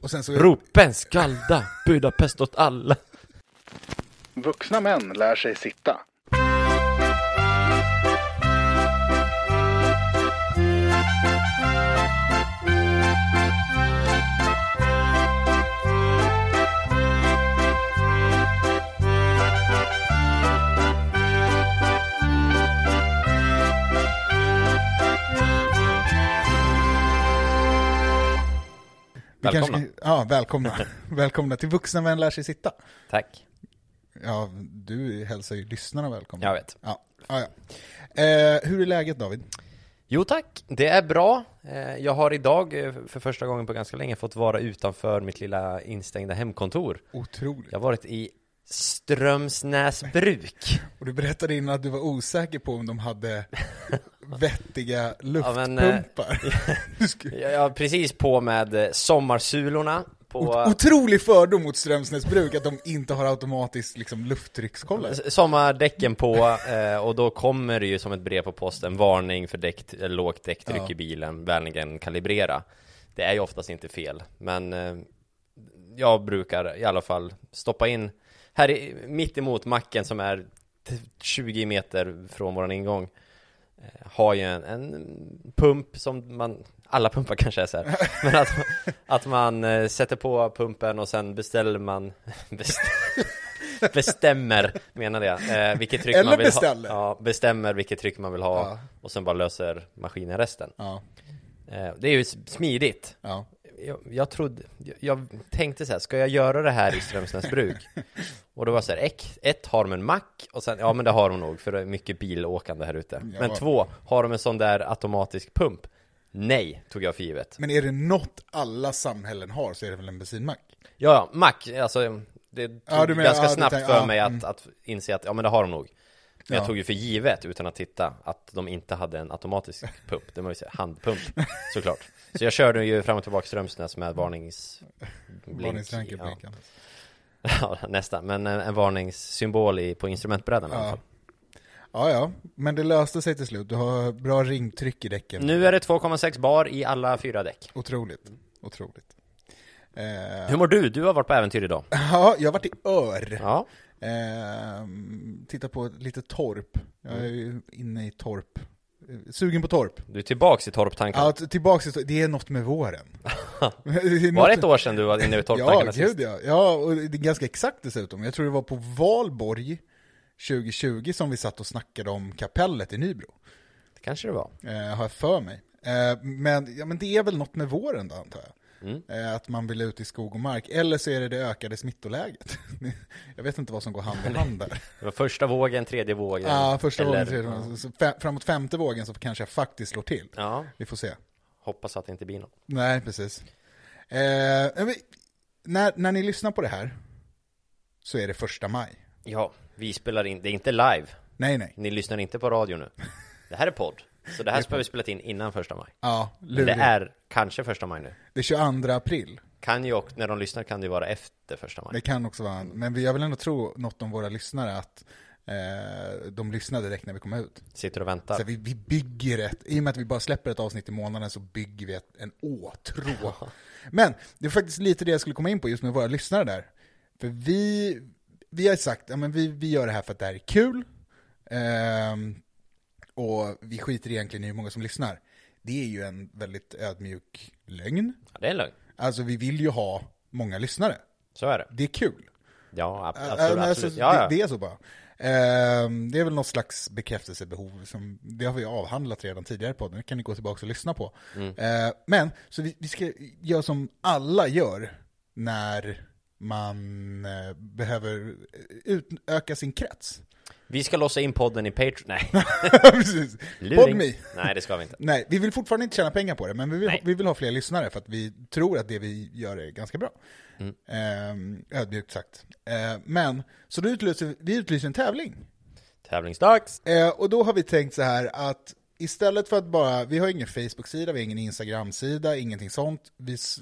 Och sen så... Ropen skalda Budapest åt alla. Vuxna män lär sig sitta. vi kanske- Välkomna. ja, välkomna. välkomna till Vuxna män lär sig sitta. Tack. Ja, du hälsar ju lyssnarna välkomna. Jag vet. Ja, ja. ja. Eh, hur är läget David? Jo tack, det är bra. Eh, Jag har idag eh, för första gången på ganska länge fått vara utanför mitt lilla instängda hemkontor. Otroligt. Jag har varit i Strömsnäsbruk. Och du berättade innan att du var osäker på om de hade vettiga men, eh, luftpumpar. Du skulle- Jag har precis på med eh, sommarsulorna på Ot- Otrolig fördom mot Strömsnäsbruk att de inte har automatiskt liksom, lufttryckskollare. s- sommardäcken på eh, och då kommer det ju som ett brev på posten varning för däck, eh, lågt däcktryck Ja. i bilen, vänligen kalibrera. Det är ju oftast inte fel, men eh, jag brukar i alla fall stoppa in här i, mitt emot macken som är t- 20 meter från våran ingång eh, har ju en, en pump som man, alla pumpar kanske är så här, men att, att man eh, sätter på pumpen och sen beställer man, beställer, bestämmer menar jag, eh, vilket tryck Eller man vill beställer. ha. Ja, bestämmer vilket tryck man vill ha Ja. och sen bara löser maskinen resten. Ja, Eh, det är ju s- smidigt. ja. Jag, jag trodde, jag, jag tänkte så här, ska jag göra det här i Strömsnäsbruk? och då var jag så här, ett, ett har de en mack och sen, ja men det har de nog för det är mycket bilåkande här ute. Ja. Men två, har de en sån där automatisk pump? Nej, tog jag för givet. Men är det något alla samhällen har så är det väl en bensinmack? Ja, ja, mack, alltså det tog Ja, du menar- ganska ja, du snabbt tänker- för ja, mig att, mm. att inse att, ja men det har de nog. Men Ja. jag tog ju för givet utan att titta att de inte hade en automatisk pump, det var ju så här, handpump såklart. Så jag körde ju fram och tillbaka Strömsnäs med varnings... blink, Varningsranken ja. blinkande. Ja, nästan. Men eh, en, en varningssymbol i, på instrumentbrädan i alla Ja. fall. Ja, ja, men det löste sig till slut. Du har bra ringtryck i däcken. Nu är det 2,6 bar i alla fyra däck. Otroligt, otroligt. Eh, Hur mår du? Du har varit på äventyr idag. ja, jag har varit i Ör. Ja, Eh, titta på ett litet torp. Jag Mm. är ju inne i torp. Eh, Sugen på torp. du är tillbaks i torptankarna. Ja, t- tillbaks till torp. Det är något med våren. Var det ett år sedan du var inne i Ja, torptankarna gud ja. Ja, och det är ganska exakt dessutom. Jag tror det var på valborg 2020 som vi satt och snackade om kapellet i Nybro. Det kanske det var. Eh, har jag för mig. Eh, men, ja, men det är väl något med våren då, antar jag. Mm. Eh, att man vill ut i skog och mark. Eller så är det det ökade smittoläget. jag vet inte vad som går hand i hand där. Det var första vågen, tredje vågen. Ja, första eller- vågen, tredje vågen. Så fe- Framåt femte vågen så kanske jag faktiskt slår till. Ja, Vi får se. hoppas att det inte blir något. Nej, precis. Eh, men när, när ni lyssnar på det här så är det första maj. Ja, vi spelar in. Det är inte live. Nej, nej. Ni lyssnar inte på radio nu. Det här är podd. Så det här ska vi spela in innan första maj. Ja, Men det lurigt. Det är... är kanske första maj nu. 22 april. Kan ju och när de lyssnar kan det ju vara efter första maj. Det kan också vara, men vi- jag vill ändå tro något om våra lyssnare att eh, de lyssnar direkt när vi kommer ut. Sitter och Så väntar. vi, vi bygger ett, i och med att vi bara släpper ett avsnitt i månaden så bygger vi ett, en åtrå. Men det är faktiskt lite det jag skulle komma in på just med våra lyssnare där. För vi, vi har sagt, ja, men vi, vi gör det här för att det här är kul. Ehm, och vi skiter egentligen i hur många som lyssnar. Det är ju en väldigt ödmjuk lögn. Ja, det är en lögn. Alltså vi vill ju ha många lyssnare. Så är det. Det är kul. Ja, ab- Äh, absolut. men alltså, absolut. Ja, ja. Det, det är så bara. Ehm, det är väl något slags bekräftelsebehov, som, det har vi avhandlat redan tidigare i podden, det kan ni gå tillbaka och lyssna på. Mm. Ehm, men, så vi, vi ska göra som alla gör när man eh, behöver utöka sin krets. Vi ska låsa in podden i Patreon. Nej, Precis. luring. Podme. Nej, det ska vi inte. Nej, vi vill fortfarande inte tjäna pengar på det, men vi vill, Nej. vi vill ha fler lyssnare för att vi tror att det vi gör är ganska bra. Mm. Ehm, ödmjukt sagt. Ehm, men, så då utlyser vi utlyser en tävling. Tävlingsdags. Eh, och då har vi tänkt så här att istället för att bara, vi har ingen Facebook-sida, vi har ingen Instagram-sida, ingenting sånt. Vi s-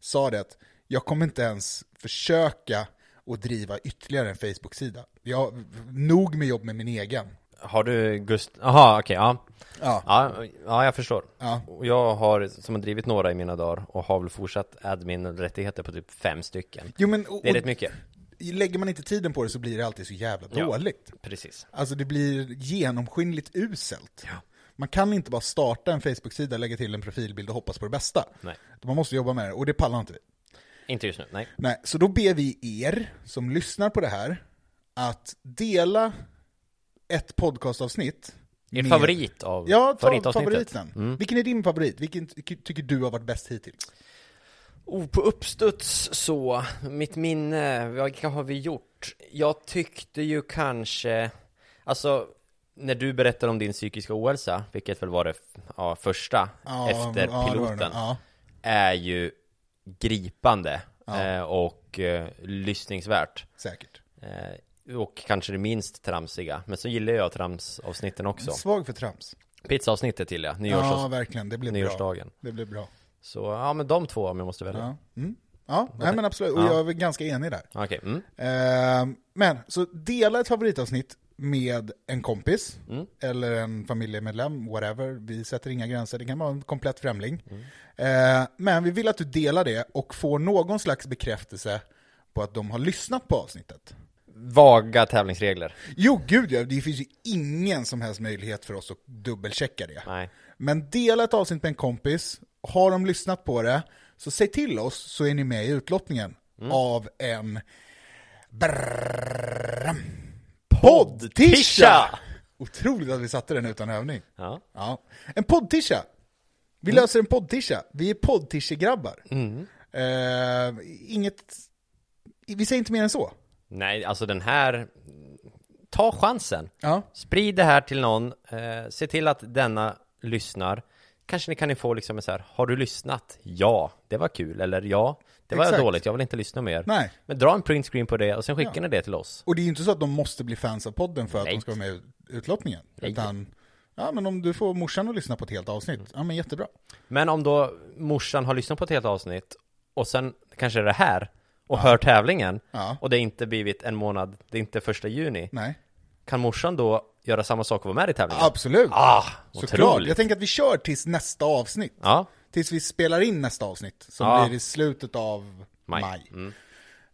sa det att jag kommer inte ens försöka att driva ytterligare en Facebook-sida. Jag nog med jobb med min egen. Har du Gust... Aha, okej, ja. Ja, ja. Ja, jag förstår. ja. Och Jag har, som har drivit några i mina dagar och har väl fortsatt admin-rättigheter på typ fem stycken. Jo, men, och, Det är rätt mycket. lägger man inte tiden på det så blir det alltid så jävla Ja. dåligt. Precis. Alltså det blir genomskinligt uselt. Ja. Man kan inte bara starta en Facebook-sida, lägga till en profilbild och hoppas på det bästa. Nej. Man måste jobba med det, och det pallar inte vi. Inte just nu, nej. Nej, så då ber vi er som lyssnar på det här att dela ett podcastavsnitt. Er med- favorit av Ja, ta favoritavsnittet. Mm. favoriten. Vilken är din favorit? Vilken ty- tycker du har varit bäst hittills? Oh, på uppstuds så, mitt minne, vilka har vi gjort? Jag tyckte ju kanske, alltså när du berättade om din psykiska ohälsa, vilket väl var det ja, första Ja, efter ja, det var piloten, den. Ja, är ju gripande Ja. eh, och eh, lyssningsvärt. säkert. Eh, och kanske det minst tramsiga, men så gillar jag tramsavsnitten också. Svag för trams. Pizzaavsnittet gillar jag, Ja, nyårsavs- verkligen. Det blev bra. nyårsdagen. Det blev bra. Så ja, men de två om jag måste välja. Ja, mm. ja nej, men absolut. Och Ja. jag är väl ganska enig där. Okej, mm. Ehm, Men, så dela ett favoritavsnitt med en kompis, eller en familjemedlem, whatever. Vi sätter inga gränser, det kan vara en komplett främling. Ehm, Men vi vill att du delar det och får någon slags bekräftelse på att de har lyssnat på avsnittet. Vaga tävlingsregler. Jo, gud ja, det finns ju ingen som helst möjlighet för oss att dubbelchecka det. Nej. Men dela ett avsnitt med en kompis, har de lyssnat på det, så säg till oss så är ni med i utlottningen av en brrrr, podd-tisha! Tisha! Otroligt att vi satte den utan övning. Ja. Ja. En podd-tisha! Vi löser en podd-tisha. Vi är podd-tisha-grabbar. Eh, inget... Vi säger inte mer än så. Nej, alltså den här... Ta chansen. Ja. Sprid det här till någon. Eh, se till att denna lyssnar. Kanske ni kan få liksom en så här, har du lyssnat? Ja, det var kul. Eller ja, det var Exakt. dåligt. Jag vill inte lyssna mer. Nej. Men dra en printscreen på det och sen skickar ni det till oss. Och det är ju inte så att de måste bli fans av podden för att Nej. de ska vara med i utlottningen. Nej. Mm. Utan, ja men om du får morsan att lyssna på ett helt avsnitt, ja men jättebra. Men om då morsan har lyssnat på ett helt avsnitt och sen kanske det här och hör tävlingen Ja. och det inte blivit en månad, det är inte första juni. Nej. Kan morsan då göra samma sak och vara med i tävlingen? Absolut. Ah, Såklart. otroligt. Jag tänker att vi kör tills nästa avsnitt. Ja, Tills vi spelar in nästa avsnitt, som Ja. blir i slutet av maj. Maj. Mm.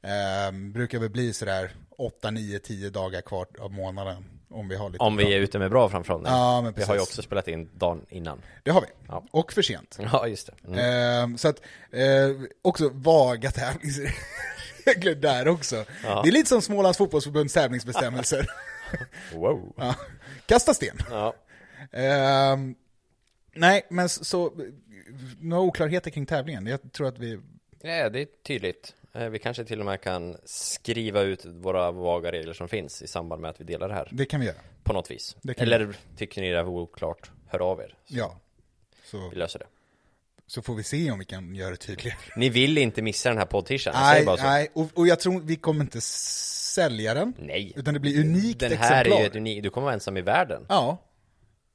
Ehm, brukar väl bli sådär 8, 9, 10 dagar kvar av månaden. Om vi har lite om vi är ute med bra framförhållning. Ja, men vi har ju precis. också spelat in dagen innan. Det har vi. Ja. Och för sent. Ja, just det. Mm. Ehm, så att, eh, också vaga tävlingsregler där också. Det är lite som Smålands fotbollsförbunds tävlingsbestämmelser. Wow. Eh, Ja. Kasta sten. Ja. Ehm, nej, men s- så, några oklarheter kring tävlingen. Jag tror att vi, ja, det är tydligt. Eh, Vi kanske till och med kan skriva ut våra vaga regler som finns i samband med att vi delar det här det kan vi göra. på något vis. Det kan Eller tycker ni det här var oklart, hör av er. Ja. Så, Vi löser det. så får vi se om vi kan göra det tydligare. Ni vill inte missa den här poddtishan, jag Nej, säger bara så. nej, och, och jag tror vi kommer inte sälja den. Nej. Utan det blir unikt Den här exemplar. är ju ett unikt, du kommer vara ensam i världen. Ja,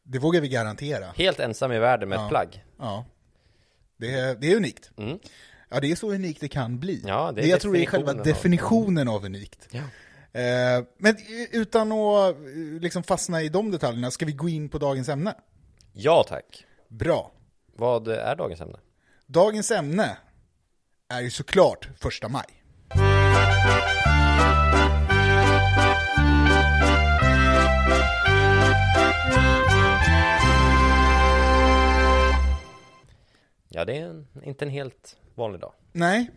det vågar vi garantera. Helt ensam i världen med ett plagg. Ja. Det är, det är unikt. Ja, det är så unikt det kan bli. Mm. Ja, det är jag tror det är definitionen själva av- definitionen av unikt. Ja. Eh, men utan att eh, liksom fastna i de detaljerna, ska vi gå in på dagens ämne? ja, tack. Bra. Vad är dagens ämne? Dagens ämne är ju såklart första maj. Ja, det är en, inte en helt vanlig dag. Nej,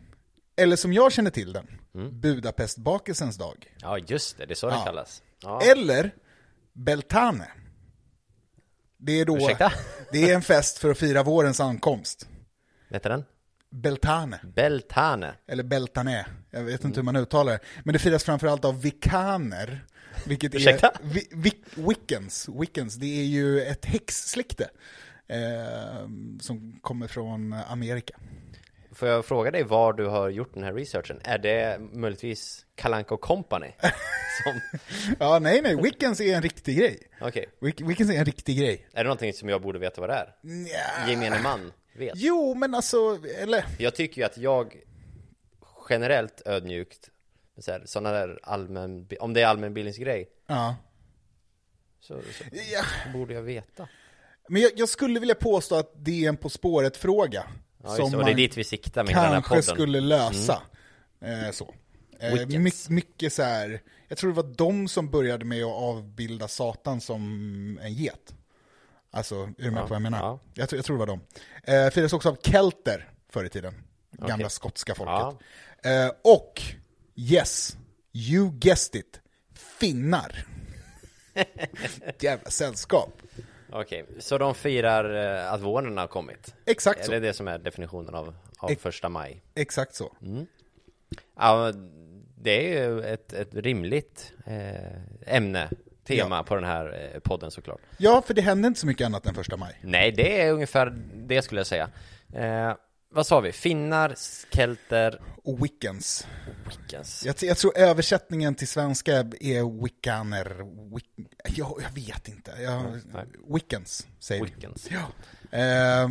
eller som jag känner till den, Mm. Budapestbakelsens dag. Ja, just det, det är så den kallas. Ja. Eller Beltane. Det är då... Ursäkta? Det är en fest för att fira vårens ankomst. Vet du den? Beltane. Beltane. eller Beltane, jag vet Mm. inte hur man uttalar det. Men det firas framförallt av vikaner, vilket Ursäkta? är vi, vi, wiccans, wiccans. Det är ju ett häxsläkte eh, som kommer från Amerika. Får jag fråga dig var du har gjort den här researchen? Är det möjligtvis Kalanka och Company? Som... Ja, nej, nej, wiccans är en riktig grej. Okej. Wic- Wiccans är en riktig grej. Är det någonting som jag borde veta vad det är? Nja. Gemene man vet. Jo, men alltså, eller... Jag tycker ju att jag generellt ödmjukt, så här, sådana där allmän, om det är allmänbildningsgrej, Ja. Så, så Ja. borde jag veta. Men jag, jag skulle vilja påstå att det är en På spåret-fråga. Ja, just det, och det är dit vi siktar med hela den här kanske podden. Mm. skulle lösa. Eh, så. Eh, Wickets. my, mycket så här, jag tror det var de som började med att avbilda Satan som en get. Alltså, är du med Ja, på vad jag menar? ja. Jag, tror- jag tror det var de. Eh, firades också av kelter förr i tiden. Gamla Okej. skotska folket. Eh, och, yes, you guessed it, finnar. Jävla sällskap. Okej, så de firar eh, att våren har kommit? Exakt Är det så. det som är definitionen av, av Ex- första maj? Exakt så. Ja, det är ju ett, ett rimligt eh, ämne, tema på den här eh, podden såklart. Ja, för det hände inte så mycket annat än första maj. Nej, det är ungefär det skulle jag säga. Eh, vad sa vi? Finnar, kelter, Och Wiccans. Wiccans. Jag, jag tror översättningen till svenska är wickaner. Wick, jag, jag vet inte. Jag, Mm, nej. Wiccans säger vi. Wiccans. Ja. Eh,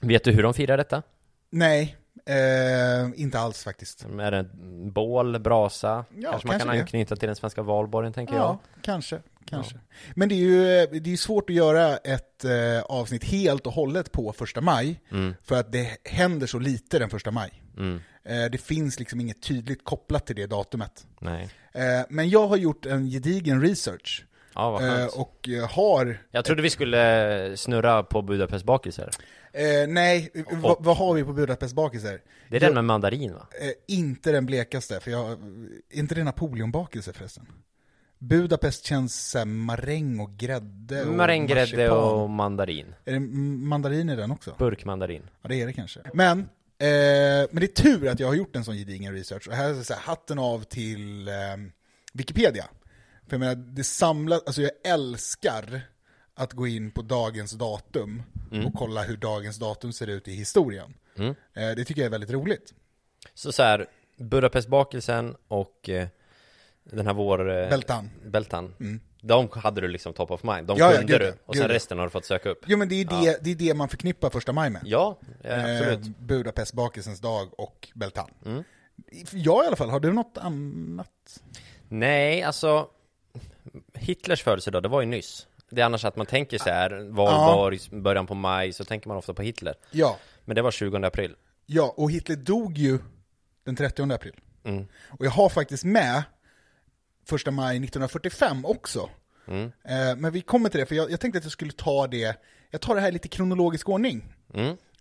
Vet du hur de firar detta? nej, eh, inte alls faktiskt. Är det en bål, brasa? kanske man kanske kan det. anknyta till den svenska valborgen, tänker jag. Ja, kanske. kanske. Men det är ju eh, det är ju svårt att göra ett eh, avsnitt helt och hållet på första maj, Mm, för att det händer så lite den första maj. Eh, det finns liksom inget tydligt kopplat till det datumet. Nej. Eh, men jag har gjort en gedigen research. Ja, vad eh, skönt. och eh, har Jag trodde vi skulle eh, snurra på Budapestbakelser. Eh, nej, v- vad- vad har vi på Budapest bakelser? Det är den med mandarin, va? Eh, inte den blekaste, för jag, eh, inte det napoleonbakelse förresten? Budapest känns såhär maräng och grädde och Maränggrädde marsipan. och mandarin. Är det m- mandarin i den också? Burkmandarin. Ja det är det kanske. Men, eh, men det är tur att jag har gjort en sån gedigen research, och här är det så här, hatten av till eh, Wikipedia. För jag menar, det samlas, alltså jag älskar att gå in på dagens datum Mm. och kolla hur dagens datum ser ut i historien. Eh, det tycker jag är väldigt roligt. Så så här, Budapestbakelsen och eh, den här vår... Eh, Bältan. Mm. Bältan. De hade du liksom top of mind. De Ja, ja, kunde gud, du. ja. Och sen Gud, ja. resten har du fått söka upp. Jo men det är det, det, är det man förknippar första maj med. Ja, eh, absolut. Mm. Eh, Budapest, bakelsens dag och Beltan. Jag i alla fall, har du något annat? Nej, alltså Hitlers födelsedag, det var ju nyss. Det är annars att man tänker så här, valborg, början på maj, så tänker man ofta på Hitler. Ja. Men det var 20 april. Ja, och Hitler dog ju den 30 april. Och jag har faktiskt med första maj 1945 också. Eh, men vi kommer till det, för jag, jag tänkte att jag skulle ta det, jag tar det här i lite kronologisk ordning.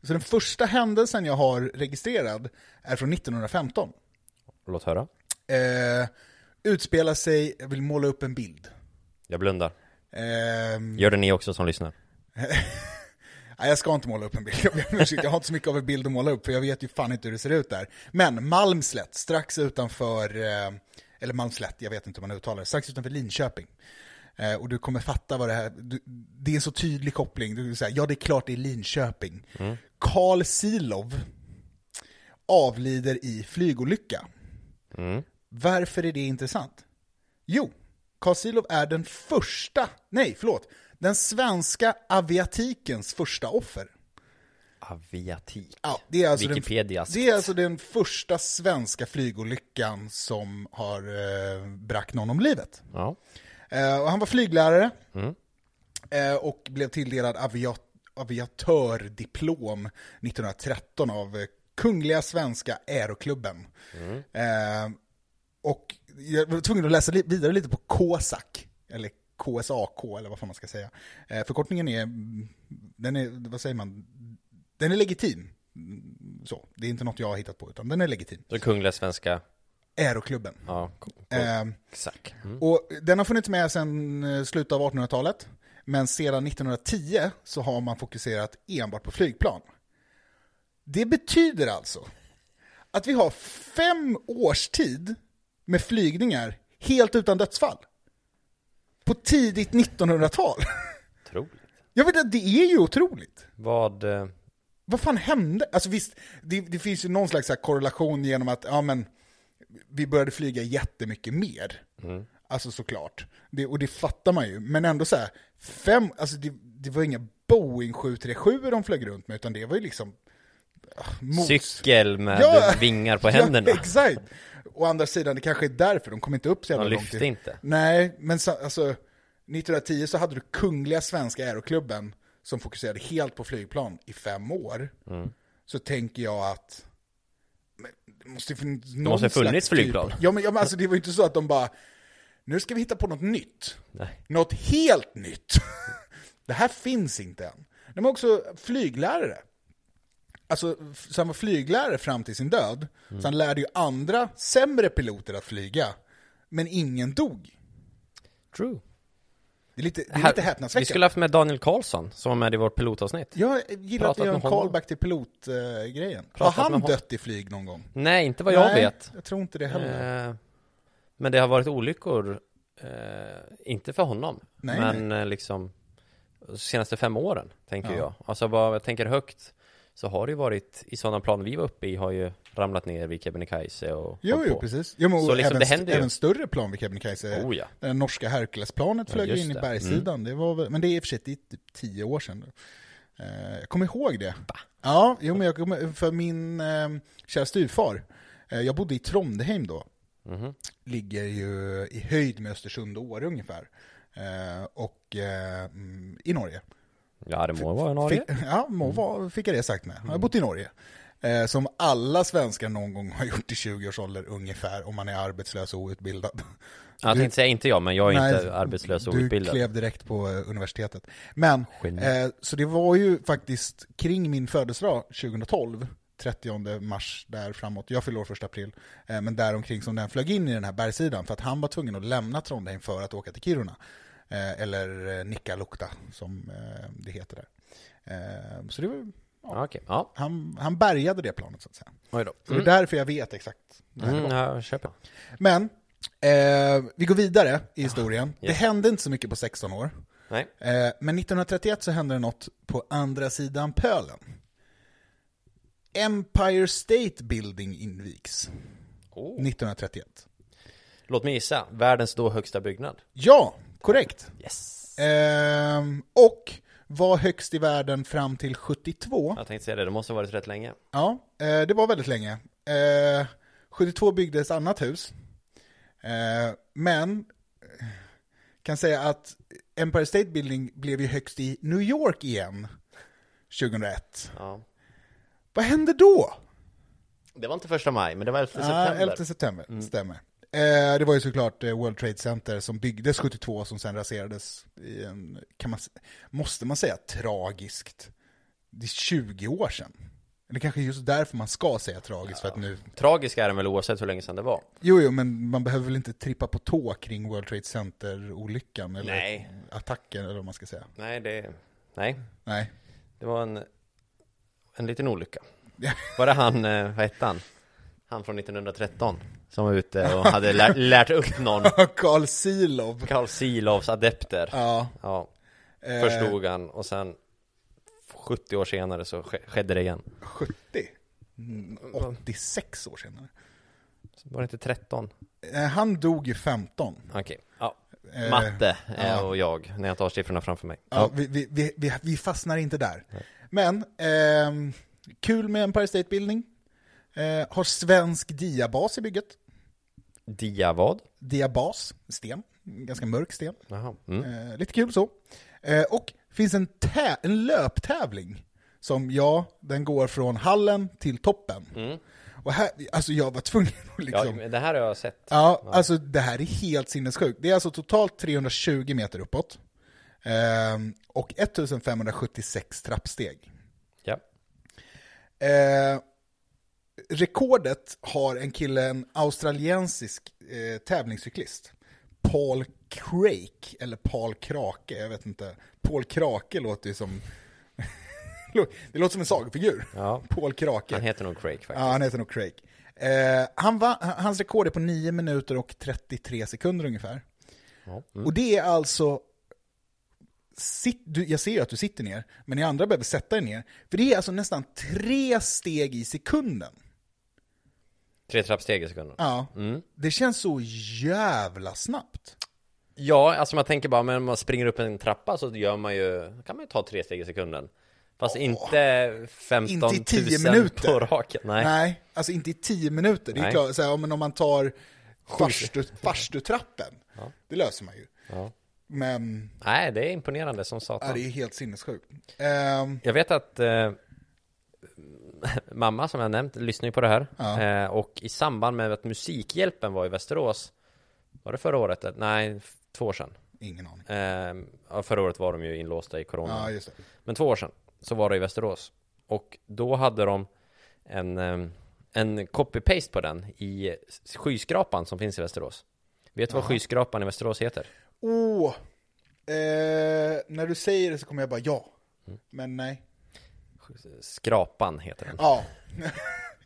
Så den första händelsen jag har registrerad är från 1915. Låt höra. Eh, utspelar sig, jag vill måla upp en bild. Jag blundar. Ehm, Gör det ni också som lyssnar. Nej, jag ska inte måla upp en bild. Jag ber om ursäkt. Jag har inte så mycket av en bild att måla upp, för jag vet ju fan inte hur det ser ut där. Men Malmslätt, strax utanför, eh, eller Malmslätt, jag vet inte hur man uttalar det, strax utanför Linköping. Eh, Och du kommer fatta vad det här, du, det är en så tydlig koppling. Du säger, ja det är klart det är Linköping. Karl Silov avlider i flygolycka. Varför är det intressant? Jo, Karl Silov är den första, nej förlåt, den svenska aviatikens första offer. Aviatik. Ja, det är alltså Wikipedia. Den, det är alltså den första svenska flygolyckan som har eh, bragt någon om livet. Ja. Eh, och han var flyglärare eh, och blev tilldelad aviat aviatördiplom 1913 av eh, Kungliga Svenska Aeroklubben. Eh, och jag var tvungen att läsa li- vidare lite på KSAK, eller KSAK eller vad fan man ska säga. Eh, förkortningen är, den är, vad säger man, den är legitim. Mm, Så, det är inte något jag har hittat på, utan den är legitim. Så Kungliga Svenska. Aeroklubben. Ja, k- k- Ehm, exakt. Mm. och den har funnits med sedan eh, slutet av 1800-talet, men sedan 1910 så har man fokuserat enbart på flygplan. Det betyder alltså att vi har fem års tid med flygningar helt utan dödsfall. På tidigt 1900-tal. Otroligt. Jag vet att det är ju otroligt. Vad... eh, Vad fan hände? Alltså visst, det, det finns ju någon slags så här korrelation genom att ja, men, vi började flyga jättemycket mer. Mm. Alltså såklart. Det, och det fattar man ju. Men ändå så här, fem, alltså det, det var inga Boeing 737 de flög runt med, utan det var ju liksom... ah, mot- Cykel med Ja! vingar på händerna. Ja, exakt! Å andra sidan, det kanske är därför, de kom inte upp så jävla De långt. lyfte inte. Nej, men så, alltså, 1910 så hade du Kungliga Svenska Aeroklubben som fokuserade helt på flygplan i fem år. Så tänker jag att men det måste ju funnits någon måste ha slags funnits typ- flygplan. Ja men, ja, men alltså, det var ju inte så att de bara, nu ska vi hitta på något nytt. Nej. Något helt nytt. det här finns inte än. De var också flyglärare. Alltså, f- så han var flyglärare fram till sin död. Mm. Så han lärde ju andra, sämre piloter att flyga. Men ingen dog. True. Det är lite, det är Här, lite vi häpnadsväckande. skulle haft med Daniel Karlsson som var med i vårt pilotavsnitt. Jag gillar att Pratat vi gör en med honom. callback till pilotgrejen. Har Pratat med han honom. dött i flyg någon gång? Nej, inte vad jag Nej, vet. jag tror inte det heller. Eh, men det har varit olyckor, eh, inte för honom, Nej, men eh, liksom de senaste fem åren, tänker Ja. jag. Alltså vad jag tänker högt, så har det ju varit, i sådana plan vi var uppe i, har ju ramlat ner vid Kebnekaise och Jo, hållit jo, på. precis. Jo, men Så och liksom, även, det händer ju. även större plan vid Kebnekaise. Oh, ja. Det norska Herculesplanet flög just in i det. Mm. bergssidan. Det var väl, men det är i och för sig det är typ tio år sedan. nu. Eh, jag kommer ihåg det. Ja, jo, men jag kommer, för min eh, kära styvfar, eh, jag bodde i Trondheim då. Mhm. Ligger ju i höjd med Östersund och Åre ungefär. Eh, och eh, mm, i Norge. Ja, det må vara en Norge. Mm. Fick, ja, må var, fick jag det sagt med. Jag har bott i Norge. Eh, som alla svenskar någon gång har gjort i 20-årsåldern ungefär, om man är arbetslös och outbildad. Jag tänkte säga inte jag, men jag är Nej, inte arbetslös och Du outbildad. klev direkt på eh, universitetet. Men, Geni. eh, så det var ju faktiskt kring min födelsedag 2012, 30 mars där framåt, jag fyller år 1 april, eh, men däromkring som den flög in i den här bergssidan för att han var tvungen att lämna Trondheim för att åka till Kiruna. Eh, eller eh, Nikkaluokta som eh, det heter där. Eh, så det var, Ja, okej. Ja, han, han bärgade det planet så att säga. oj då. Så det är därför jag vet exakt Mm, ja, jag köper. men, eh, vi går vidare i historien. Ja. Det hände inte så mycket på 16 år. Nej. Eh, men 1931 så hände det något på andra sidan pölen. Empire State Building invigs Oh. 1931. Låt mig gissa, världens då högsta byggnad. Ja, korrekt. Yes. Ehm, och var högst i världen fram till 72. Jag tänkte säga det, det måste ha varit rätt länge. Ja, eh, det var väldigt länge. Eh, 72 byggdes annat hus. Eh, men eh, kan säga att Empire State Building blev ju högst i New York igen 2001. Ja. Vad hände då? Det var inte första maj, men det var 11 Ah, september. 11 september, stämmer. Eh, det var ju såklart eh, World Trade Center som byggdes 72 som sen raserades i en, kan man, s- måste man säga tragiskt? Det är 20 år sedan. Eller kanske just därför man ska säga tragiskt, för att nu Tragisk är den väl oavsett hur länge sedan det var. Jo, jo, men man behöver väl inte trippa på tå kring World Trade Center-olyckan eller Nej. attacken eller vad man ska säga. Nej, det... Nej, Nej. det var en... En liten olycka. Var det han, eh, vad hette han? Han från 1913. Som var ute och hade lär, lärt upp någon. Carl Silov. Carl Silovs adepter. Ja. Ja. eh, Förstod han och sen 70 år senare så ske- skedde det igen. 70? Mm, 86 år senare. Var det inte 13? Eh, Han dog ju 15. Okej. Ja. Eh, Matte eh, ja. och jag, när jag tar siffrorna framför mig. Ja, vi, vi, vi, vi, vi fastnar inte där. Men, ehm, kul med Empire State Building. Eh, har svensk diabas i bygget. Dia vad? Diabas, sten. Ganska mörk sten. Jaha. Mm. Eh, lite kul så. Eh, och finns en, tä- en löptävling som, ja, den går från hallen till toppen. Och här, alltså jag var tvungen att Mm. Ja, liksom... Ja, men det här har jag sett. alltså det här är helt sinnessjukt. Det är alltså totalt 320 meter uppåt. Ehm, och 1576 trappsteg. Ja. Eh, rekordet har en kille, en australiensisk eh, tävlingscyklist. Paul Craik, eller Paul Krake, jag vet inte. Paul Krake låter ju som... det låter som en sagofigur. Ja. Paul Krake. Han heter nog Craig faktiskt. Ja, han heter nog Craig. Eh, han va, hans rekord är på 9 minuter och 33 sekunder ungefär. Ja. mm. Och det är alltså... Sitt, du, jag ser ju att du sitter ner, men ni andra behöver sätta er ner. För det är alltså nästan tre steg i sekunden. Tre trappsteg i sekunden. Ja. Mm. Det känns så jävla snabbt. Ja, alltså man tänker bara, men om man springer upp en trappa så gör man ju, kan man ju ta tre steg i sekunden. Fast inte 15 000 Inte i 10 minuter. på raken. Nej. alltså inte i tio minuter. Det är Nej. klart, så här, ja, men om man tar farstu- farstutrappen, det löser man ju. Ja. Men Nej, det är imponerande som ja, satan. det är helt sinnessjukt. Ehm, Jag vet att eh, mamma som jag nämnt lyssnar ju på det här. Ja. Eh, och i samband med att Musikhjälpen var i Västerås, var det förra året? eller? Nej, f- två år sedan. ingen aning. Eh, ja, förra året var de ju inlåsta i corona. Ja, just det. Men två år sedan så var det i Västerås. Och då hade de en, eh, en copy-paste på den i skyskrapan som finns i Västerås. Vet du vad skyskrapan i Västerås heter? Åh! eh, när du säger det så kommer jag bara ja. Men nej. Skrapan heter den. Ja.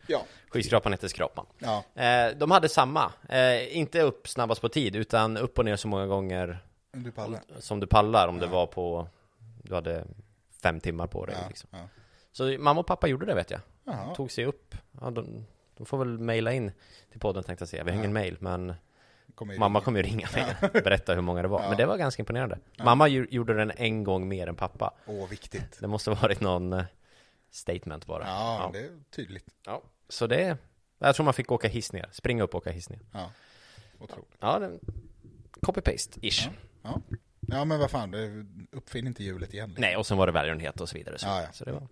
ja. Skyskrapan heter Skrapan. Ja. Eh, de hade samma, eh, inte upp snabbast på tid, utan upp och ner så många gånger Du pallar. som du pallar om det var på, du hade fem timmar på dig. Ja, Liksom. ja. Så mamma och pappa gjorde det vet jag. Jaha. Tog sig upp, ja, de, de får väl mejla in till podden tänkte jag säga. Vi har ingen mejl, men Kommer ju- mamma kommer ju ringa mig och berätta hur många det var. Men det var ganska imponerande. Mamma ju, gjorde den en gång mer än pappa. Åh, viktigt. Det måste ha varit någon eh, statement bara. Ja, det är tydligt. Ja. Så det, jag tror man fick åka hiss ner, springa upp och åka hiss ner. Ja. Otroligt. Ja, den... copy-paste-ish. Ja. ja, men vad fan, det- uppfinn inte hjulet igen. Nej, och sen var det välgörenhet och så vidare. Så, Ja, ja. så det var...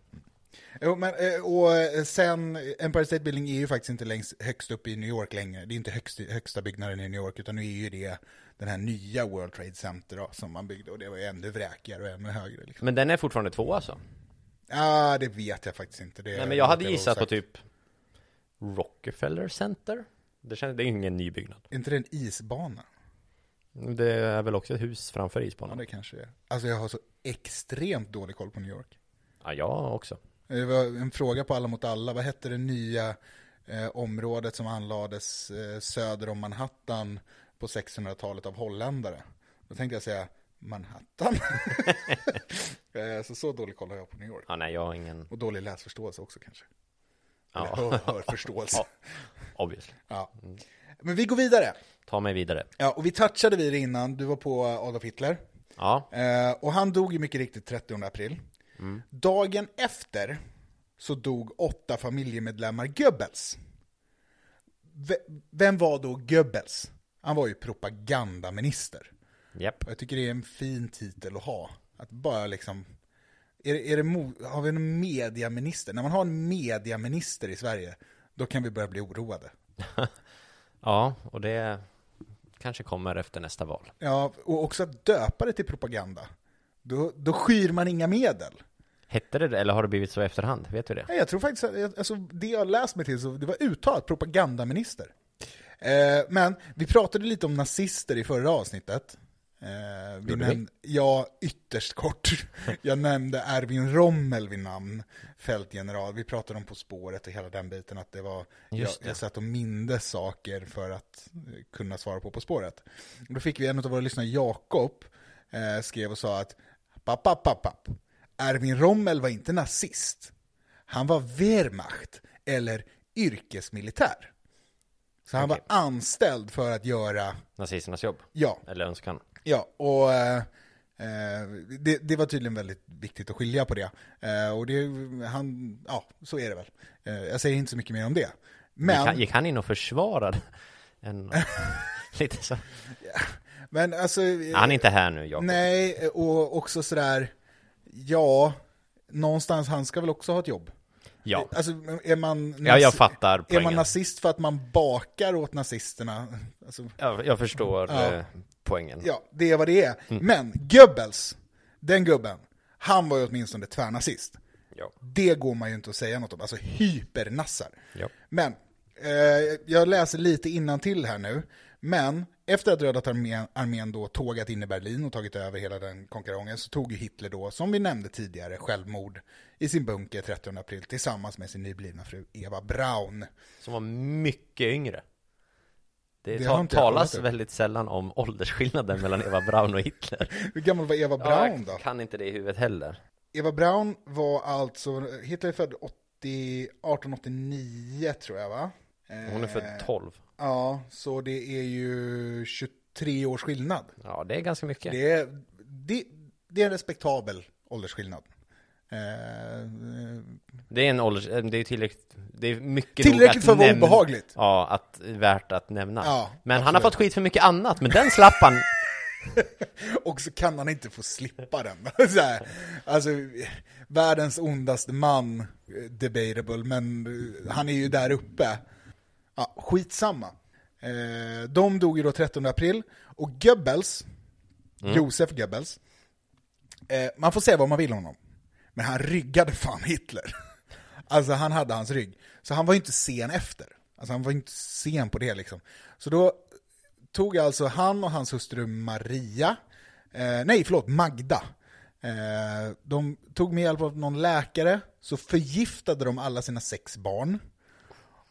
Jo, men, eh, och eh, sen, Empire State Building är ju faktiskt inte längst, högst upp i New York längre. Det är inte högst, högsta byggnaden i New York, utan nu är ju det den här nya World Trade Center då, som man byggde. Och det var ju ännu vräkigare och ännu högre. Liksom. Men den är fortfarande två alltså? Ja, det vet jag faktiskt inte. Det, Nej, men jag hade det var gissat på osagt. typ Rockefeller Center. Det, känns, det är ju ingen nybyggnad. Är inte det en isbana? Det är väl också ett hus framför Ja, isbanan? det kanske är. Alltså jag har så extremt dålig koll på New York. Ja, jag också. Det var en fråga på Alla mot alla. Vad hette det nya eh, området som anlades eh, söder om Manhattan på 600-talet av holländare? Då tänkte jag säga Manhattan. eh, så så dålig koll har jag på New York. Ja, nej, jag har ingen... Och dålig läsförståelse också kanske. Eller Ja, hör, hörförståelse. Ja. Mm. obviously. Ja. Men vi går vidare. Ta mig vidare. Ja, och vi touchade vid det innan. Du var på Adolf Hitler. Ja, Eh, och han dog ju mycket riktigt 30 april. Dagen efter så dog åtta familjemedlemmar Goebbels. V- vem var då Goebbels? Han var ju propagandaminister. japp. Och jag tycker det är en fin titel att ha. Att bara liksom... Är det, är det, mo- har vi en mediaminister? När man har en mediaminister i Sverige, då kan vi börja bli oroade. Ja, och det kanske kommer efter nästa val. Ja, och också att döpa det till propaganda. Då, då skyr man inga medel. Hette det det, eller har det blivit så i efterhand? Vet du det? Nej, jag tror faktiskt att jag- alltså, det jag läst mig till, så det var uttalat propagandaminister. Eh, men vi pratade lite om nazister i förra avsnittet. Eh, vi Gjorde vi? näm- ja, ytterst kort. Jag nämnde Erwin Rommel vid namn, fältgeneral. Vi pratade om På spåret och hela den biten, att det var... Jag, Just det. jag satt och mindes saker för att eh, kunna svara på På spåret. Då fick vi en av våra lyssnare, Jakob, eh, skrev och sa att papp, papp, papp, papp. Erwin Rommel var inte nazist. Han var Wehrmacht, eller yrkesmilitär. Så han var anställd för att göra, Nazisternas jobb? ja, Eller önskan? ja, och eh, eh, det, det var tydligen väldigt viktigt att skilja på det. Eh, och det, han, ja, så är det väl. Eh, jag säger inte så mycket mer om det. Men, Gick, han, gick han in och försvarade en... lite så. men alltså... eh, Han är inte här nu, Jakob. Nej, och också sådär, ja, någonstans han ska väl också ha ett jobb. Ja. Alltså, är man... Ja, jag fattar Är poängen. man nazist för att man bakar åt nazisterna? Alltså, Jag, jag förstår Ja. eh, poängen. ja, det är vad det är. Mm. Men Goebbels, den gubben, han var ju åtminstone tvärnazist. Ja. Det går man ju inte att säga något om, alltså hypernassar. Ja. Men, eh, jag läser lite innan till här nu, men efter att Röda armén, armén då tågat in i Berlin och tagit över hela den konkarongen så tog ju Hitler då, som vi nämnde tidigare, självmord i sin bunker 30 april tillsammans med sin nyblivna fru Eva Braun. Som var mycket yngre. Det, Det har ta, inte jag talas kollat upp. väldigt sällan om åldersskillnaden mellan Eva Braun och Hitler. Hur gammal var Eva Ja, Braun då? jag kan inte det i huvudet heller. Eva Braun var alltså, Hitler är född 80, 1889 tror jag va? Eh, Hon är född 12. Ja, så det är ju 23 års skillnad. Ja, det är ganska mycket. Det är, det, det är en respektabel åldersskillnad. Eh, eh, Det är en ålders... eh, Det är tillräckligt... Det är mycket nog Tillräckligt att för att vara nämna- obehagligt. Ja, att, värt att nämna. Ja, men han har absolut. fått skit för mycket annat, men den slapp han Och så kan han inte få slippa den. Så här, alltså, världens ondaste man, eh, debatable, men eh, han är ju där uppe. Ja, skitsamma. Eh, de dog ju då 13 april, och Goebbels, Josef Goebbels, eh, man får säga vad man vill om honom, men han ryggade fan Hitler. Alltså han hade hans rygg. Så han var ju inte sen efter. Alltså han var ju inte sen på det liksom. Så då tog alltså han och hans hustru Maria, eh, nej förlåt, Magda. Eh, de tog med hjälp av någon läkare, så förgiftade de alla sina sex barn.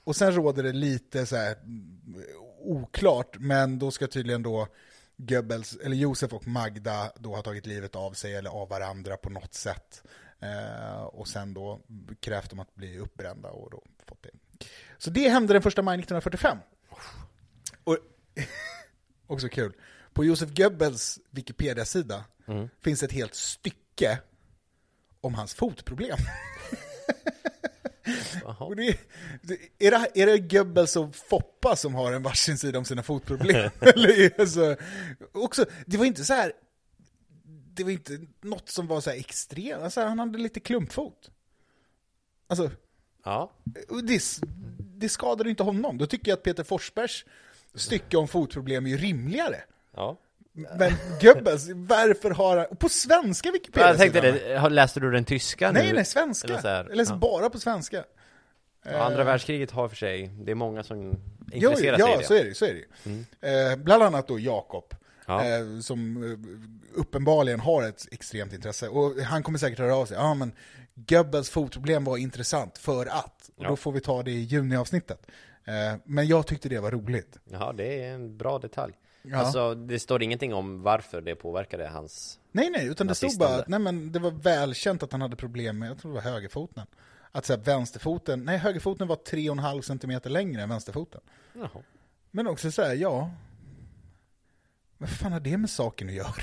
Och sen råder det lite så här mm, oklart, men då ska tydligen då Goebbels, eller Josef och Magda då har tagit livet av sig eller av varandra på något sätt. Eh, och sen då krävt de att bli uppbrända och då fått det. Så det hände den 1 maj 1945. Och också kul. På Josef Goebbels Wikipedia-sida finns ett helt stycke om hans fotproblem. Och det, det, är, det, är det Goebbels och Foppa som har en varsin sida om sina fotproblem? Eller är det så, också, det var inte så här, det var inte något som var så här extremt, alltså, han hade lite klumpfot. Alltså, Ja, och det, det skadade ju inte honom. Då tycker jag att Peter Forsbergs stycke om fotproblem är ju rimligare. ja. Men Goebbels, varför har han... och På svenska Wikipedia Jag tänkte det, har- läste du den tyska nu? Nej, nej, svenska. Eller så här, Jag läser ja. bara på svenska. Eh, Ja, Andra världskriget har för sig, det är många som Jo, intresserar ja, sig i det. Mm. så är det ju, så är det ju. Eh, bland annat då Jakob, Ja. eh, som eh, uppenbarligen har ett extremt intresse. Och han kommer säkert höra av sig. Ja, ah, men Goebbels fotproblem var intressant för att. Och Ja. Då får vi ta det i juniavsnittet. Eh, men jag tyckte det var roligt. Ja, det är en bra detalj. Ja. Alltså, det står ingenting om varför det påverkade hans... Nej, nej, utan det stod Nazisten bara att där. nej, men det var välkänt att han hade problem med, jag tror det var högerfoten. Att så här, vänsterfoten, nej högerfoten var 3,5 cm längre än vänsterfoten. Jaha. Men också så här, ja, vad fan har det med saken att göra?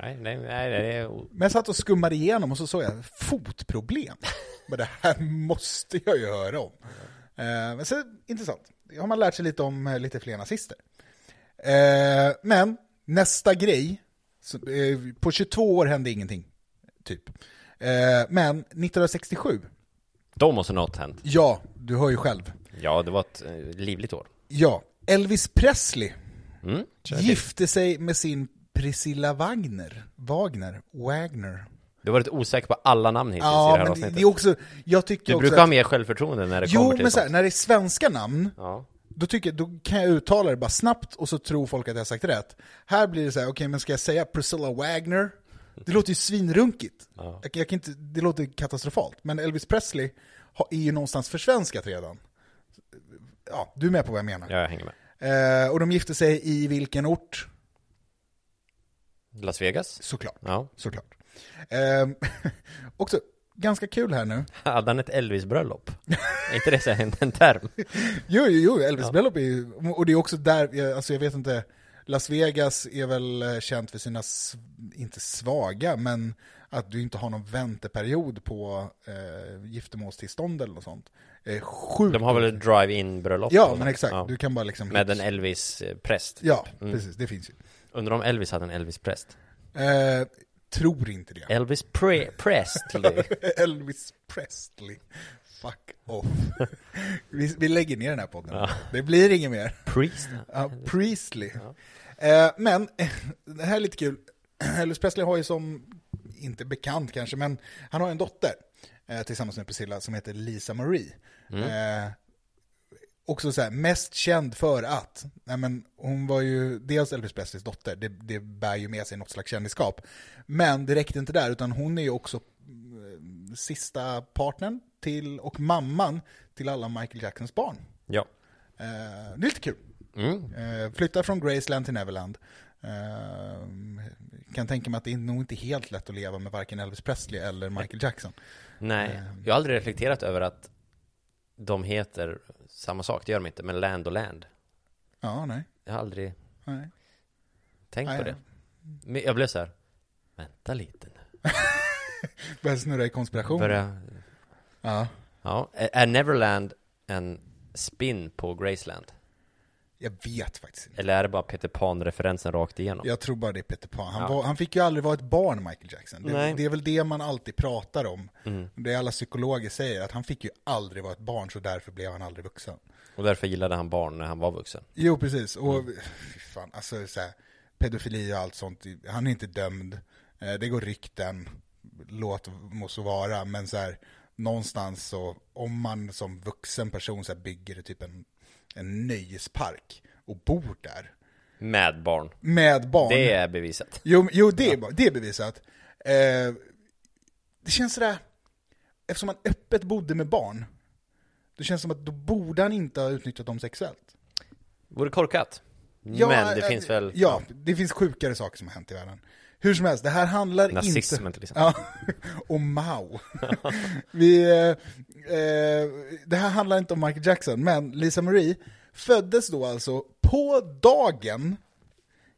Nej, nej, nej, det är... Men jag satt och skummade igenom och så såg jag fotproblem. Men det här måste jag ju höra om. Eh, men så, intressant. Det har man lärt sig lite om eh, lite fler nazister. Eh, men nästa grej, så, eh, på 22 år hände ingenting, typ. Eh, men 1967, Då måste något hänt. ja, du hör ju själv. Ja, det var ett eh, livligt år. Ja, Elvis Presley Mm. gifte sig med sin Priscilla Wagner, Wagner, Wagner. Du har varit osäker på alla namn hittills i Ja, det här men det, avsnittet. det är också, jag tycker du också brukar att- ha mer självförtroende när det Jo, kommer till men så här, sånt. när det är svenska namn, Ja. då, tycker, jag- då kan jag uttala det bara snabbt och så tror folk att jag har sagt rätt. Här blir det så här, okej, men ska jag säga Priscilla Wagner? Det låter ju svinrunkigt. Jag, jag kan inte, det låter katastrofalt. Men Elvis Presley har, är ju någonstans försvenskat redan. Ja, du är med på vad jag menar. ja, jag hänger med. Eh, och de gifte sig i vilken ort? Las Vegas? Såklart. Ja. Såklart. Ehm, också ganska kul här nu. Hade han ett Elvis-bröllop? är inte det så här en, en term? Jo, jo, jo, Elvis bröllop är ju, och det är också där, jag- alltså jag vet inte, Las Vegas är väl eh, känt för sina, s- inte svaga, men att du inte har någon vänteperiod på eh, giftermålstillstånd eller något sånt. Eh, sjukt. De har väl ett drive-in-bröllop? och Ja, men sånt. exakt, Ja. du kan bara liksom... Med en Mm. Elvis-präst? Ja, precis, det finns ju. Undrar om Elvis hade en Elvis-präst? Eh, tror inte det. Elvis pre Presley? Elvis Presley. Fuck off. vi, vi lägger ner den här podden. Det blir inget mer. Priest? Ja, Priestley. Eh, men, det här är lite kul. Elvis Presley har ju som, inte bekant kanske, men han har en dotter eh, tillsammans med Priscilla som heter Lisa Marie. Mm. Eh, också så här, mest känd för att, nej men hon var ju dels Elvis Presleys dotter, det, det bär ju med sig något slags kändisskap. Men det räckte inte där, utan hon är ju också eh, sista partnern till, och mamman till alla Michael Jacksons barn. Ja. Eh, det är lite kul. Mm. Eh, flyttar från Graceland till Neverland. Eh, kan tänka mig att det är nog inte helt lätt att leva med varken Elvis Presley eller Michael Jackson. Nej, jag har aldrig reflekterat över att de heter samma sak, det gör de inte, men Land och Land. Ja, nej. Jag har aldrig nej. tänkt Nej, på det. Men jag blev så här, vänta lite nu. Börjar snurra i konspiration. Börja, Ja. ja, är är Neverland en spin på Graceland? Jag vet faktiskt inte. Eller är det bara Peter Pan-referensen rakt igenom? Jag tror bara det är Peter Pan. Han, Ja. var, han fick ju aldrig vara ett barn, Michael Jackson. Det, Nej. det är väl det man alltid pratar om. Mm. Det alla psykologer säger, att han fick ju aldrig vara ett barn, så därför blev han aldrig vuxen. Och därför gillade han barn när han var vuxen. Jo, precis. Och Mm. fy fan, alltså så här, pedofili och allt sånt, han är inte dömd. Eh, Det går rykten, låt må så vara, men så här, någonstans så, om man som vuxen person så här, bygger typ en, en nöjespark och bor där Med barn. med barn. Det är bevisat. Jo, jo det, är, ba- det är bevisat. Eh, det känns sådär, eftersom han öppet bodde med barn, det känns som att då borde han inte ha utnyttjat dem sexuellt. Vore korkat. Ja, Men det eh, finns väl... Ja, det finns sjukare saker som har hänt i världen. Hur som helst, det här handlar inte... Nazismen till exempel. Ja, och Mao. Vi, eh, eh, det här handlar inte om Michael Jackson, men Lisa Marie föddes då alltså på dagen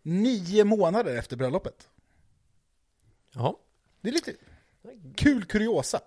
nio månader efter bröllopet. Jaha. Det är lite kul kuriosa.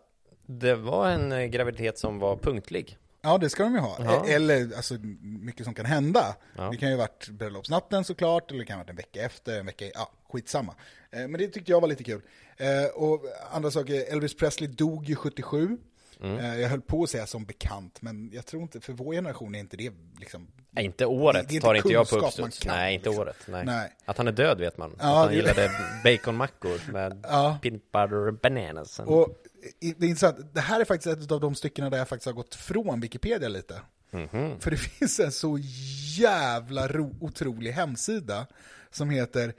Det var en eh, graviditet som var punktlig. Ja, det ska de ju ha. Ja. E- Eller, alltså, mycket som kan hända. Ja. Det kan ju ha varit bröllopsnatten såklart, eller det kan ha varit en vecka efter, en vecka i- ja, skitsamma. Eh, Men det tyckte jag var lite kul. Eh, Och andra saker, Elvis Presley dog ju 77. Mm. Eh, Jag höll på att säga som bekant, men jag tror inte, för vår generation är inte det liksom... Nej, inte året Det är inte tar inte jag på kunskap uppstuds. man kan, Nej, inte liksom. året. Nej. Nej. Att han är död vet man. Ja, att han det- gillade baconmackor med Ja. peanut butter and bananas. And... Och i- det är intressant, det här är faktiskt ett av de stycken där jag faktiskt har gått från Wikipedia lite. För det finns en så jävla ro- otrolig hemsida som heter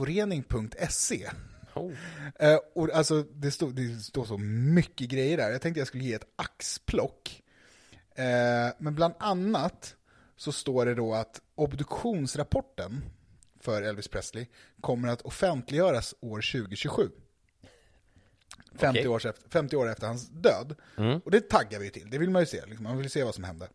elvisintresseförening.se. Oh. Eh, och alltså, det, stod, det står så mycket grejer där. Jag tänkte jag skulle ge ett axplock. Eh, men bland annat så står det då att obduktionsrapporten för Elvis Presley kommer att offentliggöras år 2027. 50, Okej. år, efter, 50 år efter hans död. Och det taggar vi ju till, det vill man ju se. Liksom. Man vill ju se vad som hände.